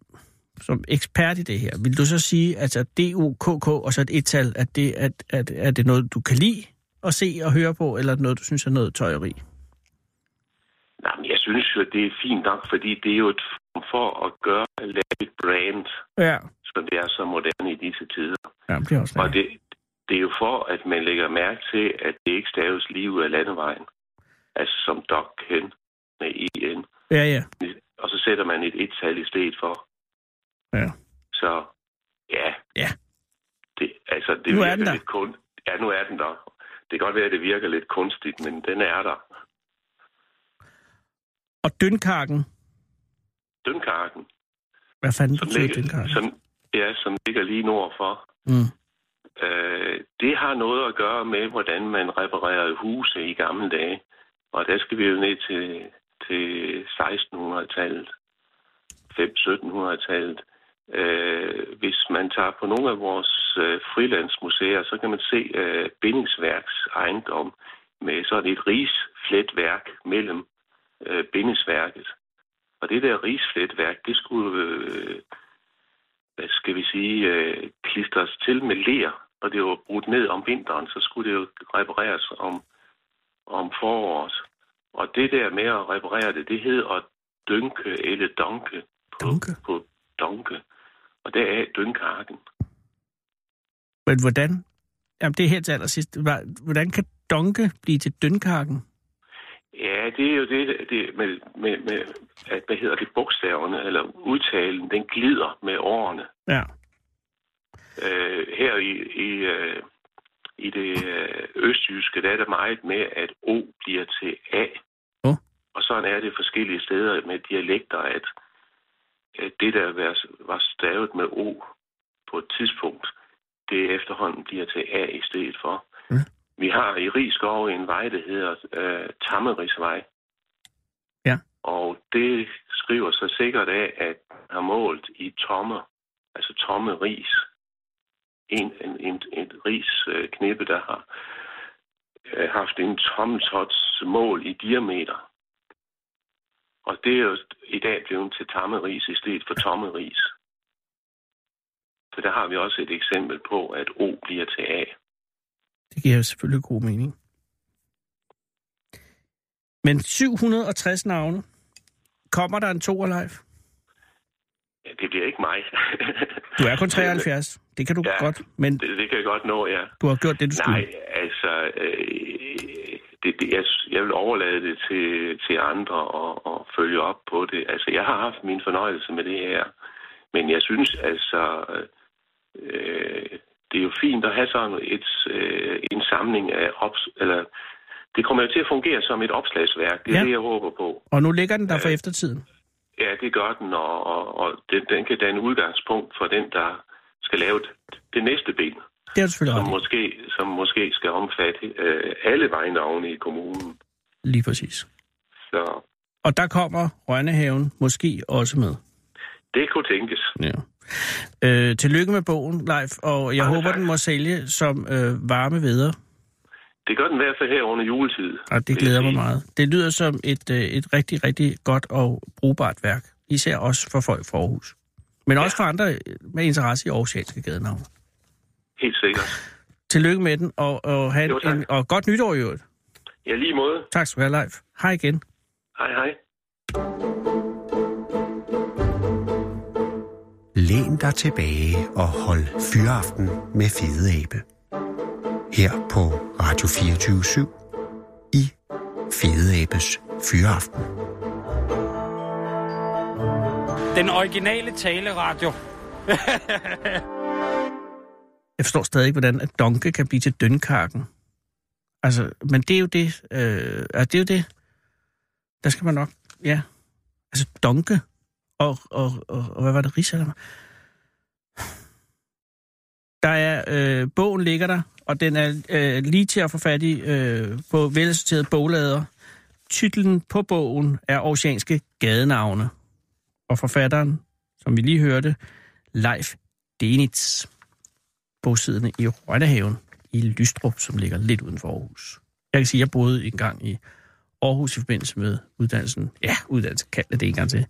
Speaker 3: som ekspert i det her, vil du så sige, altså D-O-K-K og så et et-tal, at det, at, at, er det noget, du kan lide at se og høre på, eller er det noget, du synes er noget tøjeri?
Speaker 6: Nej, men jeg synes jo, at det er fint nok, fordi det er jo et form for at gøre at lave et brand,
Speaker 3: Ja,
Speaker 6: som det er så moderne i disse tider.
Speaker 3: ja det er også
Speaker 6: Og
Speaker 3: det...
Speaker 6: det, det er jo for, at man lægger mærke til, at det ikke staves lige ud af landevejen. Altså som dog hen med en.
Speaker 3: Ja, ja.
Speaker 6: Og så sætter man et et-tal i stedet for.
Speaker 3: Ja.
Speaker 6: Så ja.
Speaker 3: Ja.
Speaker 6: Det, altså, det
Speaker 3: Nu er
Speaker 6: virker
Speaker 3: den der.
Speaker 6: lidt kun... Ja, nu er den der. Det kan godt være, at det virker lidt kunstigt, men den er der.
Speaker 3: Og dønkarken.
Speaker 6: Dønkarken,
Speaker 3: Hvad fanden
Speaker 6: som,
Speaker 3: betyder
Speaker 6: ligger,
Speaker 3: dønkarken?
Speaker 6: som, ja, som ligger lige nord for,
Speaker 3: Mm.
Speaker 6: Øh, det har noget at gøre med, hvordan man reparerede huse i gamle dage. Og der skal vi jo ned til, til 1600-tallet, 1700-tallet. Øh, hvis man tager på nogle af vores øh, frilandsmuseer, så kan man se øh, bindingsværks ejendom med sådan et risfletværk mellem øh, bindingsværket. Og det der risfletværk, det skulle øh, hvad skal vi sige, øh, klistres til med ler, og det var brudt ned om vinteren, så skulle det jo repareres om, om foråret. Og det der med at reparere det, det hed at dynke eller donke på,
Speaker 3: Dunke.
Speaker 6: på donke. Og der er dynkarken.
Speaker 3: Men hvordan? Jamen, det er her til allersidst. Hva- Hvordan kan donke blive til dønkarken?
Speaker 6: Ja, det er jo det, det med, med, med, at, hvad hedder det, bogstaverne, eller udtalen, den glider med årene.
Speaker 3: Ja.
Speaker 6: Øh, her i, i, øh, i det øh, østjyske, der er det meget med, at O bliver til A.
Speaker 3: Åh.
Speaker 6: Og sådan er det forskellige steder med dialekter, at, at det, der var, var stavet med O på et tidspunkt, det efterhånden bliver til A i stedet for.
Speaker 3: Mm.
Speaker 6: Vi har i Rigskov en vej, der hedder øh, Tammerisvej.
Speaker 3: Ja.
Speaker 6: Og det skriver sig sikkert af, at man har målt i tommer, altså tomme ris en, en, en, en ris øh, knippe, der har øh, haft en tomtots mål i diameter. Og det er jo i dag blevet til tamme ris i stedet for tomme ris. Så der har vi også et eksempel på, at O bliver til A.
Speaker 3: Det giver jo selvfølgelig god mening. Men 760 navne. Kommer der en to live?
Speaker 6: Ja, det bliver ikke mig.
Speaker 3: Du er kun 73. Det kan du ja.
Speaker 6: Ja.
Speaker 3: godt, men
Speaker 6: det, det kan jeg godt nå, ja.
Speaker 3: du har gjort det, du skulle.
Speaker 6: Nej, altså, øh, det, det, jeg, jeg vil overlade det til, til andre og, og følge op på det. Altså, jeg har haft min fornøjelse med det her, men jeg synes altså, øh, øh, det er jo fint at have sådan et, øh, en samling af ops, eller det kommer jo til at fungere som et opslagsværk. Det er
Speaker 3: Ja.
Speaker 6: ja. det, jeg håber på.
Speaker 3: Og nu ligger den der for eftertiden.
Speaker 6: Ja, det gør den, og, og, og den, den kan danne udgangspunkt for den, der skal lave det, det næste ben,
Speaker 3: Det er du selvfølgelig
Speaker 6: som
Speaker 3: ret i.
Speaker 6: måske, som måske skal omfatte øh, alle vejnavne i kommunen.
Speaker 3: Lige præcis.
Speaker 6: Så
Speaker 3: Og der kommer Rønnehaven måske også med.
Speaker 6: det kunne tænkes.
Speaker 3: Ja. Øh, tillykke med bogen, Leif, og jeg
Speaker 6: Mange
Speaker 3: håber,
Speaker 6: tak.
Speaker 3: den må sælge som øh, varme veder.
Speaker 6: Det gør den i hvert fald her under juletid.
Speaker 3: Og det
Speaker 6: vil jeg
Speaker 3: glæder mig
Speaker 6: sige.
Speaker 3: meget. Det lyder som et, øh, et rigtig, rigtig godt og brugbart værk. Især også for folk fra Aarhus. Men også for andre øh, med interesse i aarhusianske gadenavne.
Speaker 6: Helt sikkert.
Speaker 3: Tillykke med den, og, og, have
Speaker 6: Jo, tak.
Speaker 3: en, og godt nytår i øvrigt.
Speaker 6: Ja, lige måde.
Speaker 3: Tak skal du have, Leif. Hej igen.
Speaker 6: Hej, hej.
Speaker 1: Læn dig tilbage og hold fyraften med Fede Abe. Her på Radio 24 i Fede Abes Fyraften.
Speaker 4: Den originale taleradio.
Speaker 3: Jeg forstår stadig ikke, hvordan at Donke kan blive til Dønkarken. Altså, men det er jo det. Øh, altså, det er jo det. Der skal man nok, ja. Altså, Donke og, og, og, og hvad var det, Risalama? Der er, øh, bogen ligger der, og den er øh, lige til at få fat i øh, på velsorteret boglader. Titlen på bogen er Oceanske Gadenavne, og forfatteren, som vi lige hørte, Leif Denitz bosiddende i Rønnehaven i Lystrup, som ligger lidt uden for Aarhus. Jeg kan sige, at jeg boede engang i Aarhus i forbindelse med uddannelsen. Ja, uddannelse kaldte det en gang til.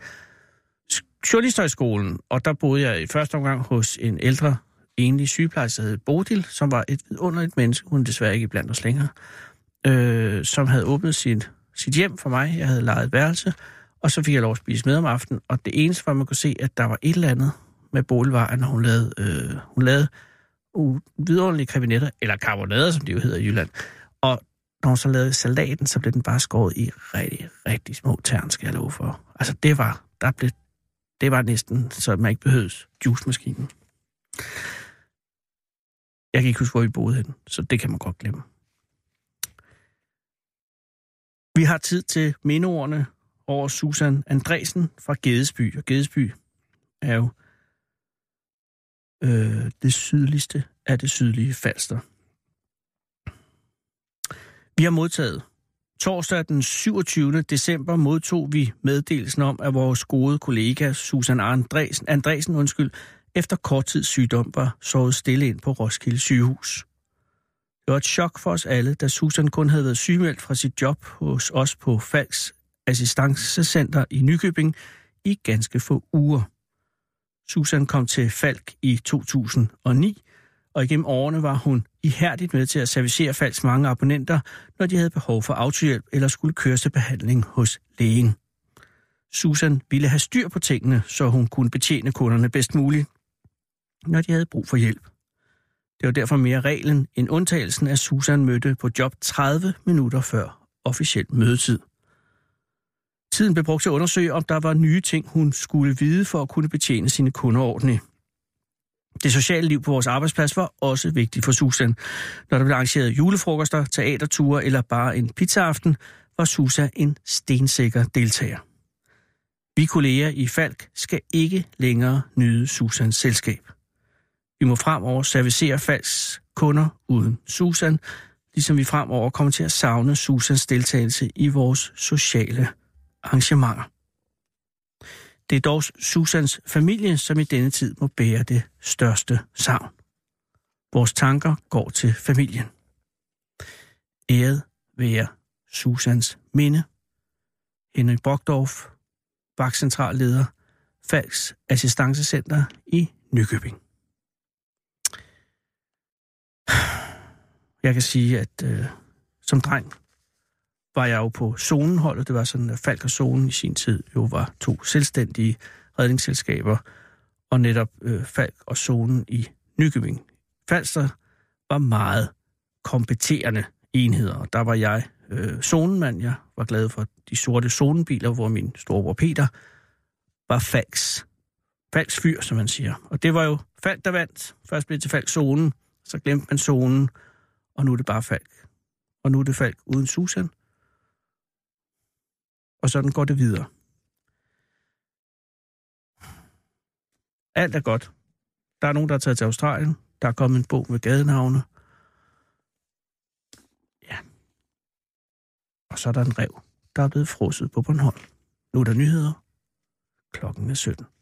Speaker 3: Journalisthøjskolen, og der boede jeg i første omgang hos en ældre enlig sygeplejerske, der hed Bodil, som var et vidunderligt menneske, hun er desværre ikke blandt os længere, øh, som havde åbnet sit, sit hjem for mig. Jeg havde lejet et værelse, og så fik jeg lov at spise med om aftenen, og det eneste var, at man kunne se, at der var et eller andet med Bodil, var, at når hun lavede, øh, hun lavede u- vidunderlige krebinetter, eller karbonader, som det jo hedder i Jylland. Og når hun så lavede salaten, så blev den bare skåret i rigtig, rigtig små tern, skal jeg love for. Altså det var, der blev, det var næsten, så man ikke behøvede juicemaskinen. Jeg kan ikke huske, hvor vi boede henne, så det kan man godt glemme. Vi har tid til mindeordene over Susan Andresen fra Gedesby. Og Gedesby er jo øh, det sydligste af det sydlige Falster. Vi har modtaget. Torsdag den 27. december modtog vi meddelelsen om, at vores gode kollega Susan Andresen, Andresen undskyld, efter kort tids sygdom var sovet stille ind på Roskilde sygehus. Det var et chok for os alle, da Susan kun havde været sygemeldt fra sit job hos os på Falks Assistancecenter i Nykøbing i ganske få uger. Susan kom til Falk i 2009, og igennem årene var hun ihærdigt med til at servicere Falks mange abonnenter, når de havde behov for autohjælp eller skulle køres til behandling hos lægen. Susan ville have styr på tingene, så hun kunne betjene kunderne bedst muligt, når de havde brug for hjælp. Det var derfor mere reglen end undtagelsen, at Susan mødte på job 30 minutter før officiel mødetid. Tiden blev brugt til at undersøge, om der var nye ting, hun skulle vide for at kunne betjene sine kunder ordentligt. Det sociale liv på vores arbejdsplads var også vigtigt for Susan. Når der blev arrangeret julefrokoster, teaterture eller bare en pizzaaften, var Susa en stensikker deltager. Vi kolleger i Falk skal ikke længere nyde Susans selskab. Vi må fremover servicere Falks kunder uden Susan, ligesom vi fremover kommer til at savne Susans deltagelse i vores sociale arrangementer. Det er dog Susans familie, som i denne tid må bære det største savn. Vores tanker går til familien. Æret være Susans minde. Henrik Brogdorf, vagtcentralleder, Falks Assistancecenter i Nykøbing. Jeg kan sige, at øh, som dreng var jeg jo på zonenholdet. Det var sådan, at Falk og Zonen i sin tid jo var to selvstændige redningsselskaber, og netop øh, Falk og Zonen i Nykøbing. Falster var meget kompeterende enheder, og der var jeg øh, zonemand. Jeg var glad for de sorte zonenbiler, hvor min storebror Peter var Falks. Falks fyr, som man siger. Og det var jo Falk, der vandt. Først blev det til Falk zonen, så glemte man zonen, og nu er det bare Falk. Og nu er det Falk uden Susan. Og sådan går det videre. Alt er godt. Der er nogen, der er taget til Australien. Der er kommet en bog med gadenavne. Ja. Og så er der en rev, der er blevet frosset på Bornholm. Nu er der nyheder. Klokken er 17.